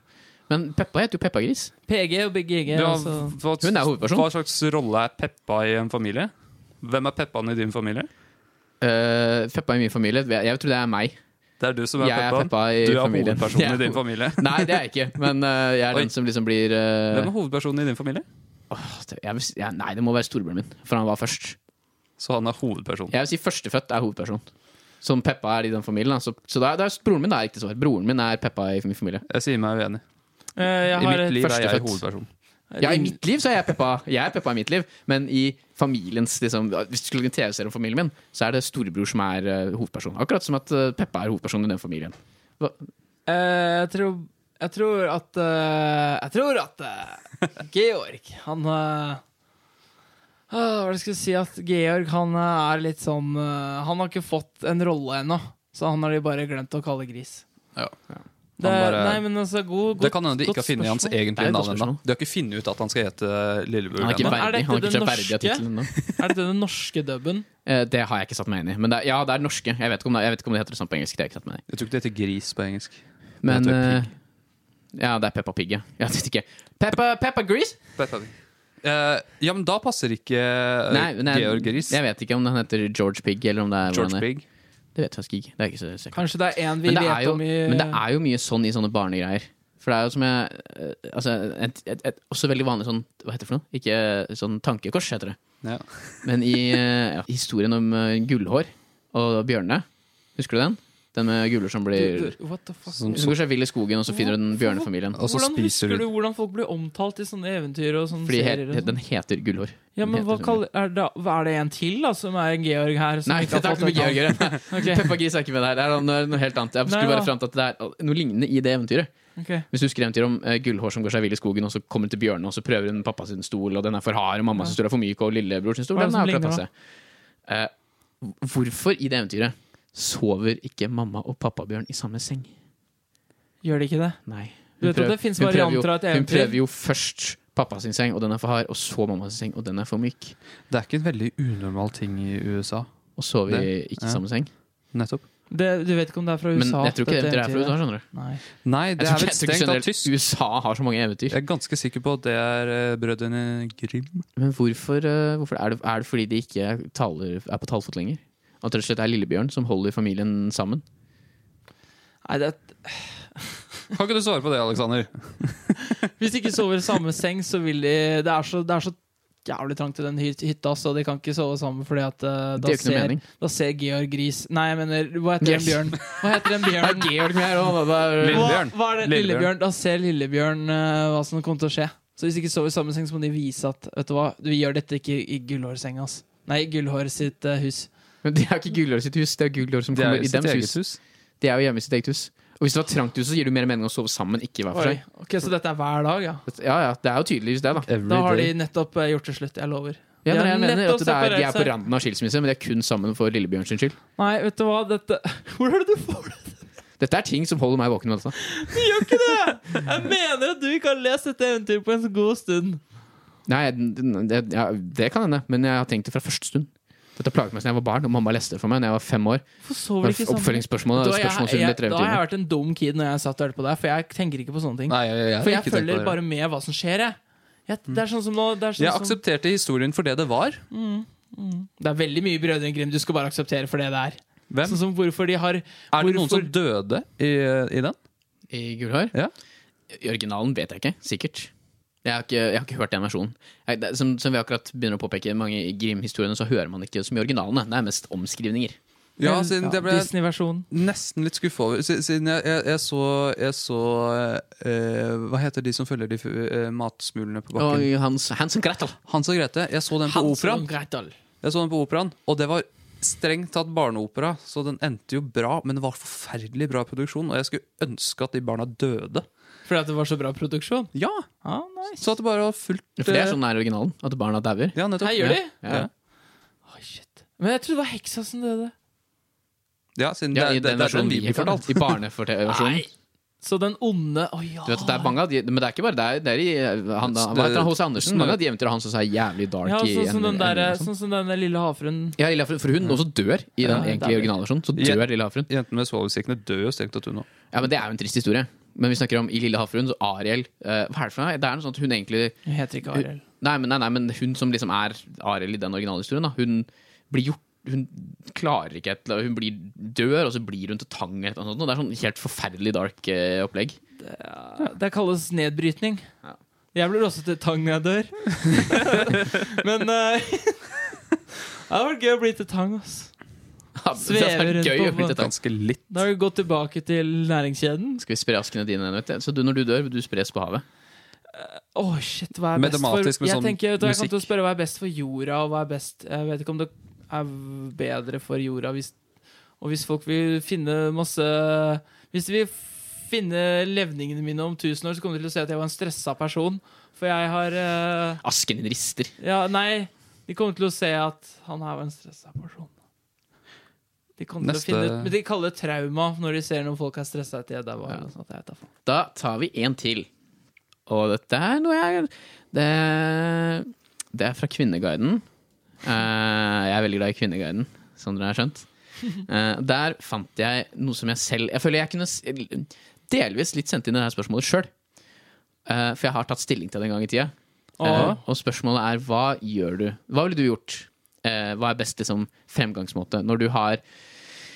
S1: Men Peppa heter jo Peppa-gris.
S3: PG og BGG.
S2: Ja,
S3: altså.
S2: hva,
S1: Hun er hovedperson.
S2: Hva slags rolle er Peppa i en familie? Hvem er Peppaen i din familie?
S1: Eh, Peppa i min familie Jeg jeg tror det er meg.
S2: Det er du som er
S1: Jeg er
S2: Peppaen.
S1: Peppa i
S2: du er
S1: familien.
S2: hovedpersonen
S1: Jeg
S2: i
S1: er
S2: din familie.
S1: Nei, det er jeg ikke. Men eh, jeg er
S2: Oi.
S1: den som liksom blir eh,
S2: Hvem er hovedpersonen i din familie?
S1: jeg, vil si- ja, Nei, det må være storebroren min, for han var først.
S2: Så han er hovedpersonen.
S1: Jeg vil si førstefødt er hovedperson. Som Peppa er i den familien. da. Så, så det er, det er, broren min er riktig svar. Broren min er Peppa i min familie.
S2: Jeg sier meg uenig.
S3: Eh,
S2: I
S3: Jeg har
S2: mitt
S3: et
S2: liv er jeg
S1: førstefødt.
S2: hovedperson.
S1: Ja, I mitt liv så er jeg Peppa. Jeg er Peppa i mitt liv, men i familiens liksom, Hvis du skulle lage en TV-serie om familien min, så er det storebror som er eh, hovedperson. Akkurat som at eh, Peppa er hovedperson i den familien. Hva?
S3: Eh, jeg, tror, jeg tror at eh, Jeg tror at eh, Georg, han eh, ah, Hva var det jeg skulle si? At Georg han eh, er litt sånn eh, Han har ikke fått en rolle ennå, så han har de bare glemt å kalle gris.
S2: Ja.
S3: Det,
S2: Han bare-
S3: nei, men altså, god, godt,
S2: Det kan hende de ikke
S3: godt
S2: har funnet hans
S1: Det
S3: spørsmål.
S1: er
S2: egentlige
S1: et godt
S2: navn ennå.
S1: spørsmål.
S2: De har ikke funnet ut at han skal hete Lillebror
S1: Han er ikke
S2: ennå.
S3: Men er
S1: verdig. Han
S3: dette
S1: har ikke
S3: den
S1: kjøpt verdig av
S3: norske?
S1: tittelen ennå.
S3: Er dette den norske dubben?
S1: Eh, Det har jeg ikke satt meg inn i. Men det er, ja, det er norske. Jeg vet ikke om det, jeg vet ikke om det heter det samme på engelsk. Det har jeg ikke satt meg inn i.
S2: Jeg tror ikke det heter gris på engelsk.
S1: Men
S2: Det heter
S1: eh, Ja, det er Peppa Pig, ja. Jeg vet ikke. Peppa, Peppa Grease?
S2: Eh, ja, men da passer ikke eh, Georg Gris.
S1: Jeg vet ikke om han heter George Pig, eller om det er
S2: George
S1: hvordan det er.
S2: Pig.
S1: Det vet jeg faktisk ikke. Det er ikke så sikkert.
S3: Kanskje det er en vi
S1: Men det,
S3: vet
S1: er jo,
S3: om i
S1: men det er jo mye sånn i sånne barnegreier. For det er jo som jeg eh, Altså, et, et, et, også veldig vanlig sånn Hva heter det for noe? Ikke eh, sånn tankekors, heter det.
S2: Ja.
S1: Men i eh, ja, historien om eh, gullhår og bjørnene, husker du den? Den med gullhår som blir
S3: Du- du- What the fuck?
S2: Sånn-
S1: Som går seg vill i skogen, og så finner du den bjørnefamilien.
S2: Og så
S3: hvordan
S2: spiser du-
S3: husker du hvordan folk blir omtalt i sånne eventyr og sånne
S1: Fordi
S3: serier?
S1: he,
S3: Og sånn?
S1: den heter gullhår.
S3: Ja, men
S1: Den
S3: hva
S1: heter sånn.
S3: kaller, er, det, hva er det en til da, som er en Georg her? Som
S1: Nei, det
S3: ikke har
S1: er ikke
S3: fått
S1: med Georg å
S3: et
S1: gjøre.
S3: navn? Ok,
S1: Peppa Gris er ikke med der. Det er noe, noe helt annet. Jeg
S3: Nei,
S1: skulle
S3: ja.
S1: bare fram til at det er noe lignende i det eventyret.
S3: ok.
S1: Hvis du husker eventyret om eh, gullhår som går seg vill i skogen, og så kommer den til bjørnen, og så prøver hun pappa sin stol, og den er for hard, og mamma sin stol er for myk, og lillebror sin stol
S3: Hva
S1: den
S3: er
S1: er
S3: det som
S1: akkurat
S3: ligner,
S1: passe. Eh, hvorfor i det eventyret sover ikke mamma og pappabjørn i samme seng?
S3: Gjør de ikke det?
S1: Nei.
S3: Du vet at det finnes
S1: hun prøver jo,
S3: varianter av et
S1: hun
S3: eventyr.
S1: prøver jo først pappa sin seng, og den er for hard, og så mamma sin seng, og den er for myk.
S2: Det er ikke en veldig unormal ting i USA.
S1: Og sover vi
S2: Det-
S1: ikke
S2: ja.
S1: i samme seng.
S2: Nettopp.
S3: det? Du vet ikke om det er fra
S1: Men
S3: USA?
S1: jeg tror ikke det
S3: dette
S1: eventyret er fra
S3: eventyret?
S1: USA, skjønner du.
S3: Nei.
S1: Jeg tror
S2: Nei, det er vel
S1: ikke- jeg tror
S2: strengt
S1: ikke
S2: tatt tysk.
S1: generelt USA har så mange eventyr.
S2: Jeg er ganske sikker på at det er eh, brødrene Grim.
S1: Men hvorfor, eh, hvorfor er, det, er det fordi de ikke taler, er på talefot lenger? At det rett og slett er Lillebjørn som holder familien sammen?
S3: Nei, det,
S2: Kan ikke du svare på det, Aleksander?
S3: hvis de ikke sover i samme seng, så vil de Det er så, det er så jævlig trangt i den hy- hytta, så de kan ikke sove sammen fordi at eh,
S1: Det
S3: da,
S1: gjør ikke noe
S3: ser,
S1: mening.
S3: da ser Georg Gris Nei, jeg mener, hva heter
S1: Yes.
S3: en bjørn? Hva heter en bjørn?
S1: Georg med her òg,
S2: Lille-
S1: da.
S3: Hva,
S2: Lillebjørn.
S3: hva er det?
S2: Lillebjørn.
S3: Lillebjørn. Da ser Lillebjørn eh, hva som kommer til å skje. Så hvis de ikke sover i samme seng, så må de vise at vet du hva, vi gjør dette ikke i Gullhårsenga. ass. Nei, i Gullhår sitt eh, hus.
S1: Men det er ikke Gullår sitt hus, det er Gullår som
S2: Det
S1: kommer i
S2: er i sitt
S1: deres
S2: eget
S1: hus.
S2: hus.
S1: De er jo hjemme i sitt eget hus. Og hvis det var trangt hus, så gir det jo mer mening å sove sammen, ikke hver for
S3: Oi.
S1: seg.
S3: Ok, Så dette er hver dag, ja?
S1: Ja, ja, det er jo tydeligvis det, da.
S2: Every
S3: Da har de
S2: day.
S3: nettopp eh, gjort det slutt. Jeg lover.
S1: Ja,
S3: De
S1: men
S3: har
S1: jeg
S3: lett
S1: mener
S3: å
S1: at det er, de er
S3: separere
S1: på
S3: seg.
S1: randen av skilsmisse, men de er kun sammen for Lillebjørn sin skyld.
S3: Nei, vet du hva, dette Hvor er det du får det?
S1: Dette er ting som holder meg våken altså. om natta.
S3: Du gjør ikke det! Jeg mener at du ikke har lest dette eventyret på en så god stund.
S1: Nei, den- den- det, ja, det kan hende, men jeg har tenkt det fra første stund. Dette plaget meg siden jeg var barn, og mamma leste det for meg da jeg var fem år.
S3: Hvorfor sover de ikke
S1: sånn-
S3: sammen?
S1: Oppfølgingsspørsmålet
S3: Da,
S1: er
S3: jeg,
S1: spørsmålsrunden
S3: jeg,
S1: etter
S3: da har jeg
S1: eventyret.
S3: vært en dum kid når jeg satt og hørte på deg, for jeg tenker ikke på sånne ting.
S2: Nei, jeg, jeg, har
S3: For jeg
S2: ikke tenkt på
S3: følger
S2: det.
S3: bare med hva som skjer, jeg. jeg det er sånn som nå det er, sånn
S2: Jeg
S3: som,
S2: aksepterte historien for det det var.
S3: det er veldig mye Brødrene Grim du skal bare akseptere for det det er.
S2: Hvem?
S3: Sånn som hvorfor de har
S2: Er det noen
S3: hvorfor-
S2: som døde i, eh, i den?
S1: I Gullhår?
S2: Ja.
S1: I originalen vet jeg ikke, sikkert. Jeg har ikke, jeg har ikke hørt den versjonen. Jeg, det, er- som, som vi akkurat begynner å påpeke, mange i Grim-historiene så hører man ikke så mye originalene. Det er mest omskrivninger.
S2: Ja, siden det ble
S3: eh, Disney-versjonen.
S2: nesten litt skuffa over si- Siden jeg, jeg, jeg så, jeg så eh, Hva heter de som følger de eh, matsmulene på
S1: Og
S2: bakken?
S1: Hans, Hans og Gretel.
S2: Hans og Grete. Jeg så den på
S3: Hans
S2: operaen.
S3: og Gretel.
S2: Jeg så den på operaen, og det var strengt tatt barneopera, så den endte jo bra, men det var forferdelig bra produksjon, og jeg skulle ønske at de barna døde.
S3: Fordi at det var så bra produksjon.
S2: Ja!
S3: Ah, nice.
S2: Så at det bare var fullt
S1: For det er
S2: eh,
S1: sånn det er i originalen, at barna dauer.
S2: Ja, nettopp.
S3: Her gjør de.
S1: Ja.
S2: Ja.
S3: Oi, shit. Men jeg trodde det var heksa som døde.
S2: Ja, siden
S1: Ja,
S2: det,
S1: I
S2: det,
S1: den
S2: det er
S1: versjonen
S2: den vi
S1: vi
S2: blir
S1: får
S2: fortalt.
S1: I barneversjonen.
S3: Så den onde Å ja.
S1: Du vet at det er mange av de Men det er ikke bare det er, det er i eh, han, da- Hva heter han? H.C. Andersen? Mange av de eventyrene hans også er jævlig dark.
S3: ja,
S1: i
S3: sånn
S1: en- liksom.
S3: som den,
S1: en-
S3: der,
S1: en-
S3: sånn som den lille havfruen.
S1: Ja, Lilla Havfruen, for hun også dør i den
S3: Ja, det er
S1: egentlige
S3: det.
S1: originalversjonen. Så
S2: Ja.
S1: dør Lilla Havfruen.
S2: Jentene med svovelstikkene dør jo strengt tatt unna.
S1: Ja, men Det er jo en trist historie. Men vi snakker om i Lille Havfruen, så Ariel eh, Hva er det for noe? Det er noe sånt at hun egentlig
S3: Hun heter ikke Arild.
S1: Nei, men, nei, nei, men hun som liksom er Ariel i den originale historien, da, hun blir gjort hun klarer ikke et Hun blir dør, og så blir hun til tang. eller noe sånt, og Det er sånn helt forferdelig dark eh, opplegg.
S3: Det kalles nedbrytning.
S1: Ja.
S3: Jeg blir også til tang når jeg dør. Men eh, Det hadde vært gøy å bli til tang. ass
S1: Ja, det
S3: Svever
S1: er
S3: rundt
S1: gøy å
S3: på-
S1: bli til tang.
S2: Ganske litt.
S3: Da har vi gått tilbake til næringskjeden.
S1: Skal vi spre askene dine? Vet du? Så du, når du dør, vil du spres på havet?
S3: Åh, shit, hva er best for
S2: Matematisk med
S3: Jeg
S2: sånn
S3: tenker, vet du, hva, jeg kommer til å
S2: musikk.
S3: spørre hva er best for jorda, og hva er best Jeg vet ikke om det er bedre for jorda hvis Og hvis folk vil finne masse Hvis de vil finne levningene mine om tusen år, så kommer de til å se at jeg var en stressa person. For jeg har eh,
S1: Asken din rister.
S3: Ja, nei, de kommer til å se at han her var en stressa person. De kommer
S2: Neste-
S3: til å finne ut, Men de kaller det trauma når de ser noen folk er stressa etter jeg daua. eller noe sånt, sånn jeg vet da faen.
S1: Da tar vi en til. Og dette er noe jeg Det, det er fra Kvinneguiden. Eh, jeg er veldig glad i Kvinneguiden, som dere har skjønt. Eh, der fant jeg noe som jeg selv Jeg føler jeg kunne s- delvis litt sendt inn det her spørsmålet sjøl. for jeg har tatt stilling til det en gang i tida. Eh,
S3: Åh.
S1: og spørsmålet er hva gjør du? Hva ville du gjort? Eh, hva er best liksom, fremgangsmåte? Når du har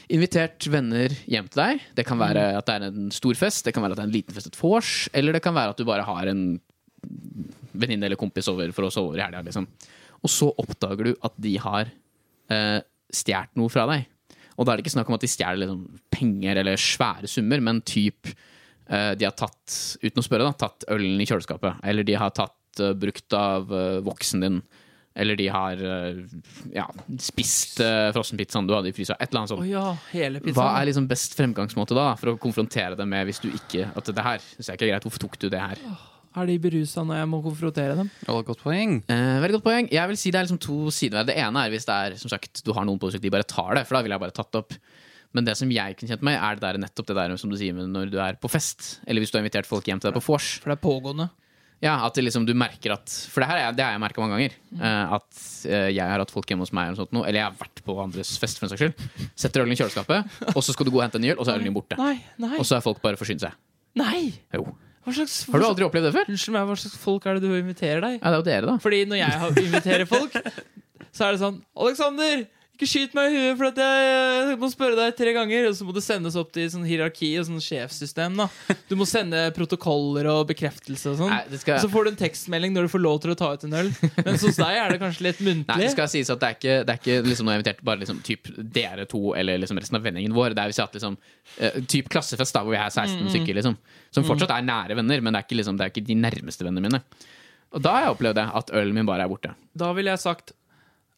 S1: invitert venner hjem til deg, det kan være at det er en stor fest, det kan være at det er en liten fest et vors, eller det kan være at du bare har en venninne eller kompis over for å sove over i helga. Liksom. Og så oppdager du at de har eh, stjålet noe fra deg. Og da er det ikke snakk om at de stjeler liksom, penger eller svære summer, men typ eh, de har tatt, uten å spørre, da, tatt ølen i kjøleskapet. Eller de har tatt, eh, brukt av eh, voksen din. Eller de har eh, ja, spist eh, frossenpizzaen du hadde i frysa. Et eller annet
S3: Å
S1: sånt.
S3: ja, hele pizzaen.
S1: Hva er liksom best fremgangsmåte da, for å konfrontere dem med hvis du ikke At det her synes jeg ikke er greit, hvorfor tok du det her?
S3: Er de berusa når jeg må konfrontere dem?
S2: Ja, det er et godt poeng.
S1: Eh, veldig godt poeng. Jeg vil si Det er liksom to sider ved det. Det ene er hvis det er som sagt, du har noen på besøk, de bare tar det, for da ville jeg bare tatt det opp. Men det som jeg kunne kjent meg, er det der, nettopp det der som du sier med når du er på fest, eller hvis du har invitert folk hjem til deg på vors.
S3: For det er pågående.
S1: Ja, at det liksom du merker at For det her er, det har jeg merka mange ganger. eh, at eh, jeg har hatt folk hjemme hos meg, eller, noe sånt, nå, eller jeg har vært på andres fest, for en saks skyld. Setter ølen i kjøleskapet, og så skal du gå og hente en ny øl, og så er ølen din borte.
S3: Nei, nei,
S1: Og så er folk bare forsynt seg.
S3: nei!
S1: Jo.
S3: Hva slags,
S1: Har du aldri opplevd det før?
S3: Unnskyld meg, hva slags folk er det du inviterer deg?
S1: Ja, det er jo dere, da.
S3: Fordi når jeg har- inviterer folk, så er det sånn Alexander, ikke skyt meg i huet, for at jeg må spørre deg tre ganger. Og så må du sendes opp til sånn hierarki og sånn sjefssystem. da Du må sende protokoller og bekreftelse og
S1: Nei,
S3: sånn.
S1: det
S3: Og
S1: skal,
S3: Så får du en tekstmelding når du får lov til å ta ut en øl. Mens hos deg er det kanskje litt
S1: Nei, det
S3: muntlig.
S1: skal sies at det er ikke, det er ikke liksom, noe jeg har invitert bare liksom, typ dere to eller liksom, resten av vennegjengen vår. Det er hvis jeg har hatt liksom, eh, typ klassefest, da, hvor vi er 16 stykker, liksom, som fortsatt er nære venner, men det er ikke, liksom, det er ikke de nærmeste vennene mine. Og da har jeg opplevd det, at ølen min bare er borte.
S3: Da ville jeg sagt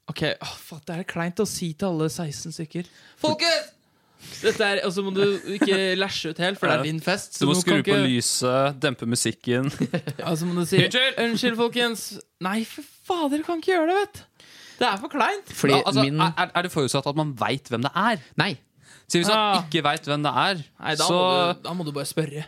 S3: Ok, åh, fuck, det er kleint å si til alle 16 stykker. Folkens! Dette er, Og så må du ikke læsje ut helt, for det er din fest.
S2: Du
S3: Så
S2: må
S3: nå
S2: skru
S3: kan
S2: på
S3: ikke-
S2: lyset, dempe musikken.
S3: Ja, så må du si Unnskyld, folkens. Nei, for fader, du kan ikke gjøre det, vet du. Det er for kleint.
S1: Fordi
S2: Ja, altså,
S1: min
S2: er- er, er det forutsatt at man veit hvem det er?
S1: ah, Nei.
S2: Så hvis
S3: Ah.
S2: man ikke veit hvem det er,
S3: Nei, da,
S2: så
S3: må du, da må du bare spørre.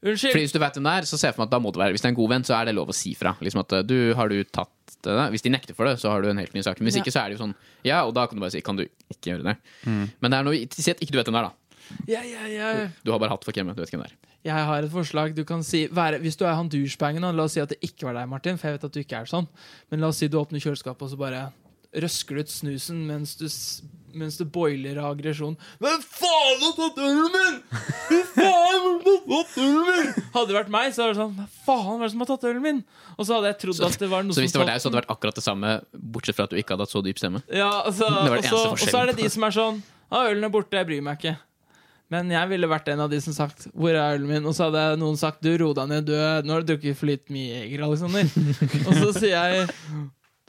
S1: Fordi
S3: Unnskyld.
S1: Hvis du vet hvem det er, så ser jeg for meg at da må det være Hvis det er en god venn, så er det lov å si fra. Liksom at eh, du, har du tatt det der? Hvis de nekter for det, så har du en helt ny sak. Men hvis
S3: Ja.
S1: ikke, så er det jo sånn Ja, og da kan du bare si Kan du ikke gjøre det? Men det er noe Si at ikke du vet hvem det er, da.
S3: Ja, ja, ja.
S1: Du har bare hatt folk hjemme. Du vet ikke hvem det er.
S3: Jeg har et forslag. Du kan si, være, hvis du er han douchebagen, da, la oss si at det ikke var deg, Martin, for jeg vet at du ikke er sånn, men la oss si du åpner kjøleskapet, og så bare røsker du ut snusen mens du, s- mens du boiler av aggresjon. Hvem faen har tatt ølen min?! Hvem faen har tatt ølen min?! Hadde det vært meg, så hadde det vært sånn Hva faen var det som har tatt ølen min?! Og så hadde jeg trodd at det var noe
S1: Så hvis det
S3: som sånn-
S1: var deg, så hadde det vært akkurat det samme, bortsett fra at du ikke hadde hatt så dyp stemme.
S3: Ja, altså,
S1: Det var den
S3: og så-
S1: eneste
S3: og så er det
S1: forskjellen.
S3: de som er sånn Ja, ølen er borte, jeg bryr meg ikke. Men jeg ville vært en av de som sagt 'Hvor er ølen min?' Og så hadde noen sagt 'Du, ro deg ned, du Nå har du drukket for litt mye Jeger, Alexander. og så sier jeg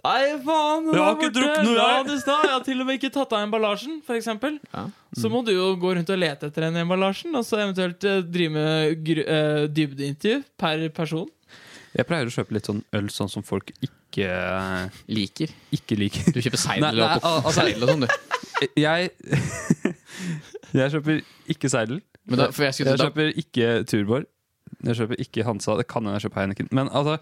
S3: Nei, faen! den
S2: Jeg har
S3: er
S2: ikke
S3: borte.
S2: drukket noe,
S3: La
S2: jeg.»
S3: den i stad. Jeg har til og med ikke tatt av emballasjen, for eksempel
S1: Ja.
S3: Så må du jo gå rundt og lete etter den emballasjen, og så eventuelt eh, drive med gr eh, dybdeintervju per person.
S2: Jeg pleier å kjøpe litt sånn øl sånn som folk ikke,
S1: Liker.
S2: ikke liker.
S1: Du kjøper
S2: Nei,
S1: seidel
S2: nei,
S1: og
S2: al-
S1: kopp-
S2: altså-
S1: seidel og sånn, du.
S2: Jeg Jeg kjøper ikke seidel.
S1: Men da, for jeg skulle,
S2: Jeg
S1: da,
S2: kjøper ikke Tuborg. Jeg kjøper ikke Hansa. Det kan hende jeg kjøper Heineken. Men altså,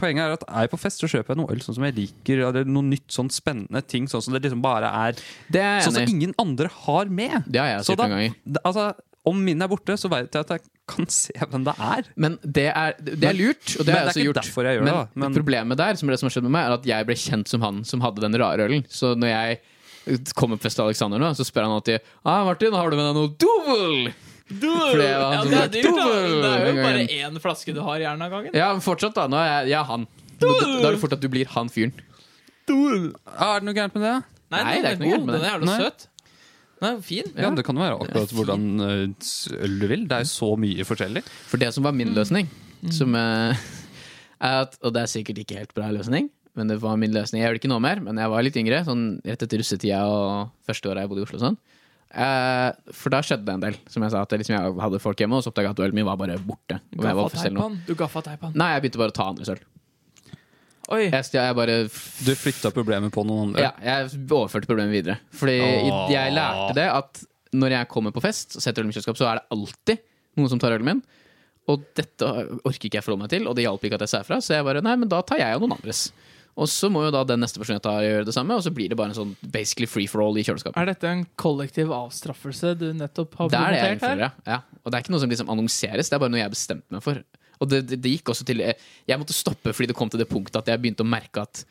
S2: poenget er at er jeg på fest, så kjøper jeg noe øl sånn som jeg liker. Eller noe nytt, sånn spennende ting. Sånn som det liksom bare er
S1: det er
S2: Sånn
S1: jeg
S2: som
S1: enig i.
S2: ingen andre har med.
S1: Det har jeg
S2: Så
S1: sagt
S2: da,
S1: noen ganger.
S2: da- altså, om min er borte, så vet jeg at jeg kan se hvem det er.
S1: Men det er, det er lurt, og det har jeg
S2: Men det er
S1: også
S2: ikke
S1: gjort.
S2: derfor jeg gjør det, da. Men-
S1: problemet der, som er det som har skjedd med meg, er at jeg ble kjent som han som hadde den rare ølen. Så når jeg eh, kommer på fest til Alexander nå, så spør han alltid ah, 'Martin, har du med deg noe dovel?' For det var han
S3: ja,
S1: som
S3: det er
S1: sagt,
S3: dyrt, da.
S1: «Dobbel!»
S3: Det er
S1: den
S3: jo bare
S1: gangen.
S3: én flaske du har i hjernen av gangen.
S1: Ja, men fortsatt, da. Nå er jeg, jeg er han. Da, da er det fort at du blir han fyren.
S2: Ah, er det noe gærent med det?
S3: Nei,
S1: Nei,
S3: den
S1: det er
S3: er
S1: ikke noe gærent
S3: god.
S1: med
S3: Den er
S1: det.
S3: jævla
S2: Nei.
S3: søt. Den er fin.
S2: Ja, Det kan jo være akkurat hvordan eh, øl du vil. Det er jo så mye forskjellig.
S1: For det som var
S3: Mm.
S1: min løsning, som eh, er at, og det er sikkert ikke helt bra løsning, men det var min løsning. Jeg gjør det ikke nå mer, men jeg var litt yngre, sånn rett etter russetida og første året jeg bodde i Oslo. og Sånn. Eh, for da skjedde det en del. Som jeg sa, at jeg, liksom, jeg hadde folk hjemme, og så oppdaga jeg at ølen min var bare borte. Og jeg var
S3: Gaffa
S1: offisiell
S3: teip
S1: nå.
S3: på den. Du gaffa teip på den.
S1: Nei, jeg begynte bare å ta andres øl.
S3: Oi.
S1: Jeg, stjal- jeg bare f-
S2: Du flytta problemet på noen andre.
S1: ja, jeg overførte problemet videre. Fordi
S2: Åh.
S1: i- jeg lærte det at når jeg kommer på fest og setter øl i mitt kjøleskap, så er det alltid noen som tar ølen min. Og dette orker ikke jeg forholde meg til, og det hjalp ikke at jeg sa fra. Så jeg bare nei, men da tar jeg av noen andres. Og så må jo da den neste personen jeg tar, gjøre det samme, og så blir det bare en sånn basically free for all i kjøleskapet.
S3: Er dette en kollektiv avstraffelse du nettopp har
S1: Det er det jeg
S3: promotert her?
S1: innfører, ja. Og det er ikke noe som liksom annonseres, det er bare noe jeg bestemte meg for. Og det, det, det gikk også til eh, Jeg måtte stoppe fordi det kom til det punktet at jeg begynte å merke at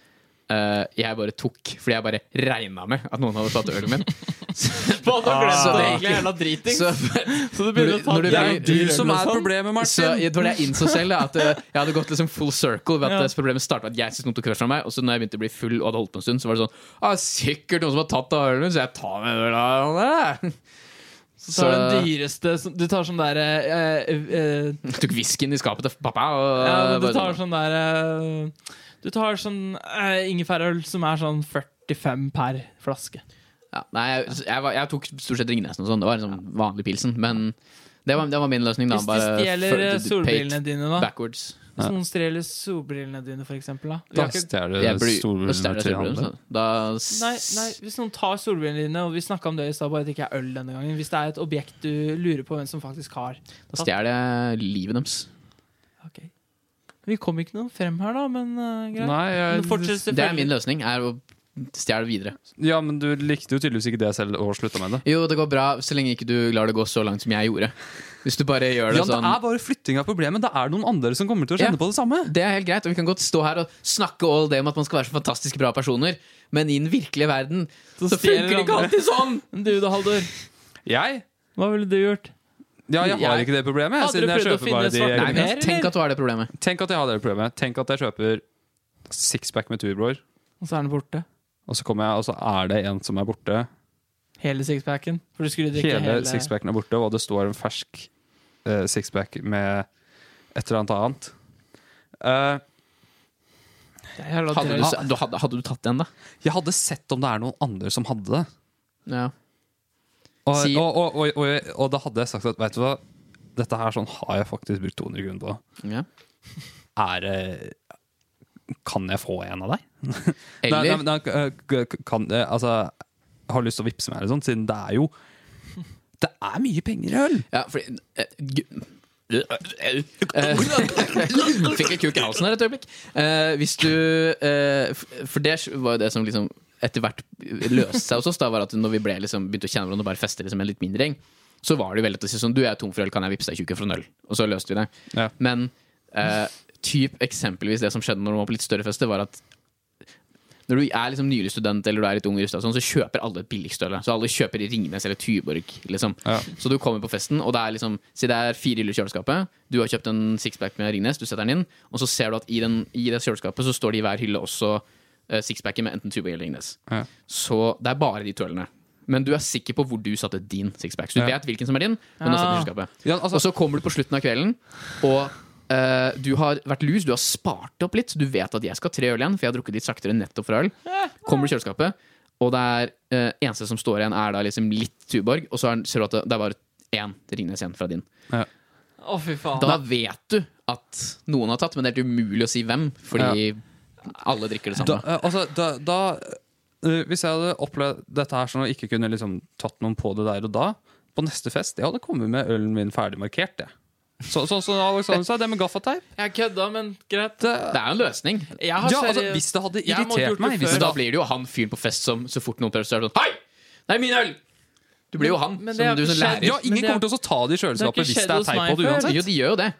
S1: eh, jeg bare tok Fordi jeg bare regna med at noen hadde tatt ølen min.
S3: Faen, da glemte
S1: Så
S3: du
S1: det-
S3: egentlig jævla driting.
S1: Så,
S3: Ah. Så du
S1: når
S3: begynner
S1: du-
S3: å ta
S1: når du-
S2: Det er
S1: Ja,
S2: jo du som er
S3: Liksom.
S1: så
S2: problemet, Martin!
S1: jeg tror det jeg innså selv, da, at eh, jeg hadde gått liksom full circle ved at
S3: Ja.
S1: eh, problemet startet med at jeg syntes noen tok crush på meg, og så når jeg begynte å bli full og hadde holdt på en stund, så var det sånn ah, Sikkert noen som har tatt av ølen min, så jeg tar med øl av han der.
S3: Så tar du den dyreste som- Du tar sånn der eh, eh,
S1: jeg tok whiskyen i skapet til pappa. Og,
S3: ja, men Du
S1: bare
S3: tar
S1: sånn,
S3: sånn der eh, Du tar sånn eh, ingefærøl som er sånn 45 per flaske.
S1: ja, nei, jeg, jeg, var, jeg tok stort sett Ringnessen og sånn, det var liksom vanlig pilsen, men det var, det var min løsning. Da.
S3: Hvis de
S1: Bare
S3: stjeler eh,
S1: føl-
S3: solbrillene dine, da?
S1: Backwards.
S3: Hvis noen stjeler solbrillene dine, for eksempel, da? Vi
S2: Da
S3: har ikke
S2: stjeler
S1: Jeg
S2: du
S1: blir, og stjeler
S2: stolen til
S1: solbrillene,
S2: andre.
S1: så da
S3: Nei, nei, hvis noen tar solbrillene dine, og vi snakka om det i stad, bare at det ikke er øl denne gangen. Hvis det er et objekt du lurer på hvem som faktisk har.
S1: da stjeler jeg livet deres.
S3: Ok. Vi kom ikke noe frem her, da, men eh, greit.
S2: Nei,
S3: Men
S2: jeg,
S3: fortsett
S1: Det er min
S3: selvfølgelig.
S1: løsning, er å stjele videre.
S2: ja, men du likte jo tydeligvis ikke det selv og slutta med det.
S1: Jo, det går bra så lenge ikke du lar det gå så langt som jeg gjorde. Hvis du bare gjør det
S2: Ja, det
S1: sånn.
S2: er bare flytting av problemet. Det er noen andre som kommer til å
S1: Ja.
S2: kjenne på det samme.
S1: Det er helt greit, og vi kan godt stå her og snakke all det om at man skal være så fantastisk bra personer, men i den virkelige verden så, funker
S3: stjeler
S1: det ikke
S3: andre.
S1: alltid sånn!
S3: Men Du da, Haldor.
S2: Jeg?
S3: Hva ville du gjort?
S2: Ja, jeg har
S1: Jeg-
S2: ikke det problemet. Jeg,
S3: Hadde
S2: siden
S3: du
S2: jeg
S3: prøvd å
S2: kjøper bare
S3: finne
S2: de
S3: svarte
S1: Nei,
S2: jeg-
S3: mer,
S1: men Tenk
S3: eller?
S1: at du har det problemet.
S2: Tenk at jeg har det problemet. Tenk at jeg kjøper sixpack med Tuborg,
S3: Og så er den borte.
S2: og så kommer jeg, og så er det en som er borte.
S3: Hele sixpacken. For du skulle drikke
S2: Hele,
S3: hele,
S2: sixpacken er borte, og det står en fersk eh, sixpack med et eller annet annet. Eh,
S3: Det er jævla
S1: Hadde du,
S3: drøyt.
S1: s- du, hadde, hadde du tatt den, da?
S2: jeg hadde sett om det er noen andre som hadde det.
S1: Ja.
S2: Og,
S1: Si-
S2: og, og, og, og, og da hadde jeg sagt at vet du hva, dette her sånn har jeg faktisk brukt 200 kroner på.
S1: ja.
S2: Er det Kan jeg få en av deg? Nei, nei,
S1: Eller
S2: men da, øh, k- k- kan, øh, altså, har lyst til å vippse meg, eller sånt, siden det er jo Det er mye penger i øl!
S1: Ja, fordi eh, gu- Eh, Fikk jeg kuk i halsen her et øyeblikk. Eh, hvis du eh, f- For det var jo det som liksom etter hvert løste seg hos oss, da, var at når vi ble liksom, begynte å kjenne hverandre og bare feste liksom, en litt mindre gjeng, så var det jo veldig lett å si sånn Du, jeg er tom for øl, kan jeg vippse deg tjukken for en øl? Og så løste vi det.
S2: Ja.
S1: Men eh, typ eksempelvis det som skjedde når man var på litt større fester, var at når du er liksom nylig student eller du er litt ung, i rusta og sånn, så kjøper alle et billigstøle. Så alle kjøper Ringnes eller Tyborg. Liksom.
S2: Ja.
S1: Så du kommer på festen, og det er liksom Si det er fire hyller i kjøleskapet. Du har kjøpt en sixpack med Ringnes, du setter den inn, og så ser du at i, den, i det kjøleskapet så står det i hver hylle også eh, sixpacken med enten Tyborg eller Ringnes.
S2: Ja.
S1: Så det er bare de to ølene. Men du er sikker på hvor du satte din sixpack. Så du
S2: Ja.
S1: vet hvilken som er din, men du har satt den i
S3: Ja.
S1: kjøleskapet.
S2: Ja, altså,
S1: Og så kommer du på slutten av kvelden, og eh, du har vært lus, du har spart opp litt, så du vet at jeg skal ha tre øl igjen, for jeg har drukket litt saktere nettopp fra øl. Kommer du i kjøleskapet, og det er eh, eneste som står igjen, er da liksom litt Tuborg, og så er, ser du at det, det er bare én Ringnes igjen fra din.
S3: Å, fy faen.
S1: Da vet du at noen har tatt, men det er helt umulig å si hvem, fordi alle drikker det
S2: da,
S1: samme.
S2: øh, altså, da, da øh, Hvis jeg hadde opplevd dette her sånn og ikke kunne liksom tatt noen på det der og da, på neste fest Jeg hadde kommet med ølen min ferdig markert, jeg. Så- Sånn som Alexander sa, det med gaffateip.
S3: Jeg kødda, men greit.
S2: Det,
S1: Det er jo en løsning.
S3: Jeg har
S2: ja, altså,
S3: seriøst-
S2: hvis det hadde
S3: Jeg måtte gjort
S2: irritert
S3: det
S2: meg hvis
S3: før.
S1: Men
S2: det
S1: da
S2: hadde,
S1: blir det jo han fyren på fest som så fort noen prøver, så er det sånn Hei! Det er min øl! Du blir jo han.
S3: Men
S1: som
S3: det har
S1: du
S3: ikke
S1: som
S3: skjedd.
S1: lærer.
S2: Ja,
S3: Men
S2: Ingen
S3: det-
S2: kommer til å ta det i
S3: det har ikke
S2: kjøleskapet hvis
S3: skjedd
S2: det er
S3: hos
S2: teip
S3: meg
S2: på det
S3: før.
S2: uansett.
S1: Jo, de gjør jo det.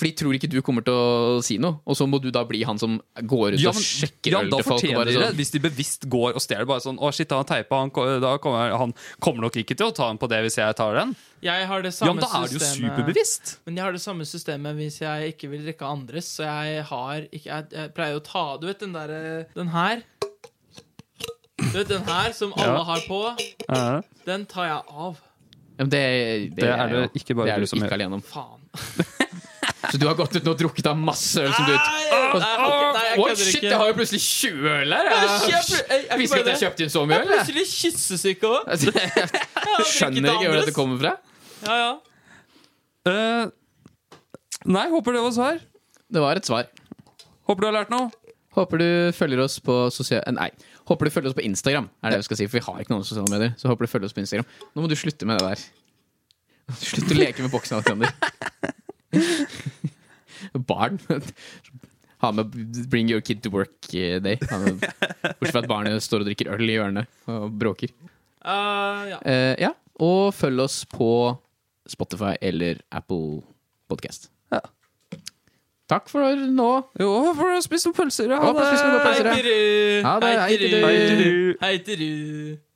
S1: For de tror ikke du kommer til å si noe. Og så må du da bli han som går ut
S2: Ja,
S1: og
S2: men,
S1: sjekker
S2: ja,
S1: øl
S2: da
S1: til folk. Og
S2: fortjener
S1: bare
S2: de det.
S1: sånn.
S2: Hvis de bevisst går og stjeler bare sånn Å, shit, han teipa. Han, ko- da kommer, han kommer nok ikke til å ta den på det hvis jeg tar den.
S3: Jeg har det
S2: Ja,
S3: samme
S2: men da er det jo
S3: systemet.
S2: superbevisst.
S3: Men jeg har det samme systemet hvis jeg ikke vil drikke andres. Så jeg har ikke, jeg, jeg pleier å ta Du vet den der eh, Den her. Du vet, den her som alle
S2: Ja.
S3: har på,
S2: Ja,
S3: den tar jeg av.
S1: Ja, men det,
S2: Det er det ikke bare
S1: det er
S2: du
S1: du
S2: som
S1: ikke
S2: gjør.
S1: alene om.
S3: Faen.
S1: Så du har gått ut nå og drukket av masse øl som du
S3: Nei, jeg har ikke- nei, jeg
S1: Oi,
S3: kødder
S1: shit,
S3: ikke.
S1: jeg har jo plutselig 20 øl her! Jeg,
S3: Jeg kjøper- jeg- jeg
S1: jeg visste ikke at
S3: bare-
S1: jeg kjøpte inn så mye
S3: Jeg er
S1: øl. jeg.
S3: plutselig kyssesyk òg.
S1: Altså, Jeg skjønner ikke hvor dette kommer fra.
S3: Ja, ja.
S2: Eh, nei, håper det var svar.
S1: Det var et svar.
S2: Håper du har lært noe.
S1: Håper du følger oss på sosial... Nei. Håper du følger oss på Instagram, er det vi skal si. For vi har ikke noen sosiale medier. Så håper du følger oss på Instagram. Nå må du slutte med det der. Slutt å leke med boksen, Alexander. Barn. Ha med Bring your kid to work eh, day. Ha med, bortsett fra at barnet står og drikker øl i hjørnet og bråker.
S3: Eh, ja.
S1: Eh, ja. Og følg oss på Spotify eller Apple Podcast.
S2: Ja.
S1: Takk for nå.
S2: Jo, håper du har spist noen pølser. ja.
S1: Håper du har spist noen
S3: Hei
S1: pølser, ja.
S3: til du!
S1: Ha det, hei til du.
S2: Hei til du.
S3: Hei til du.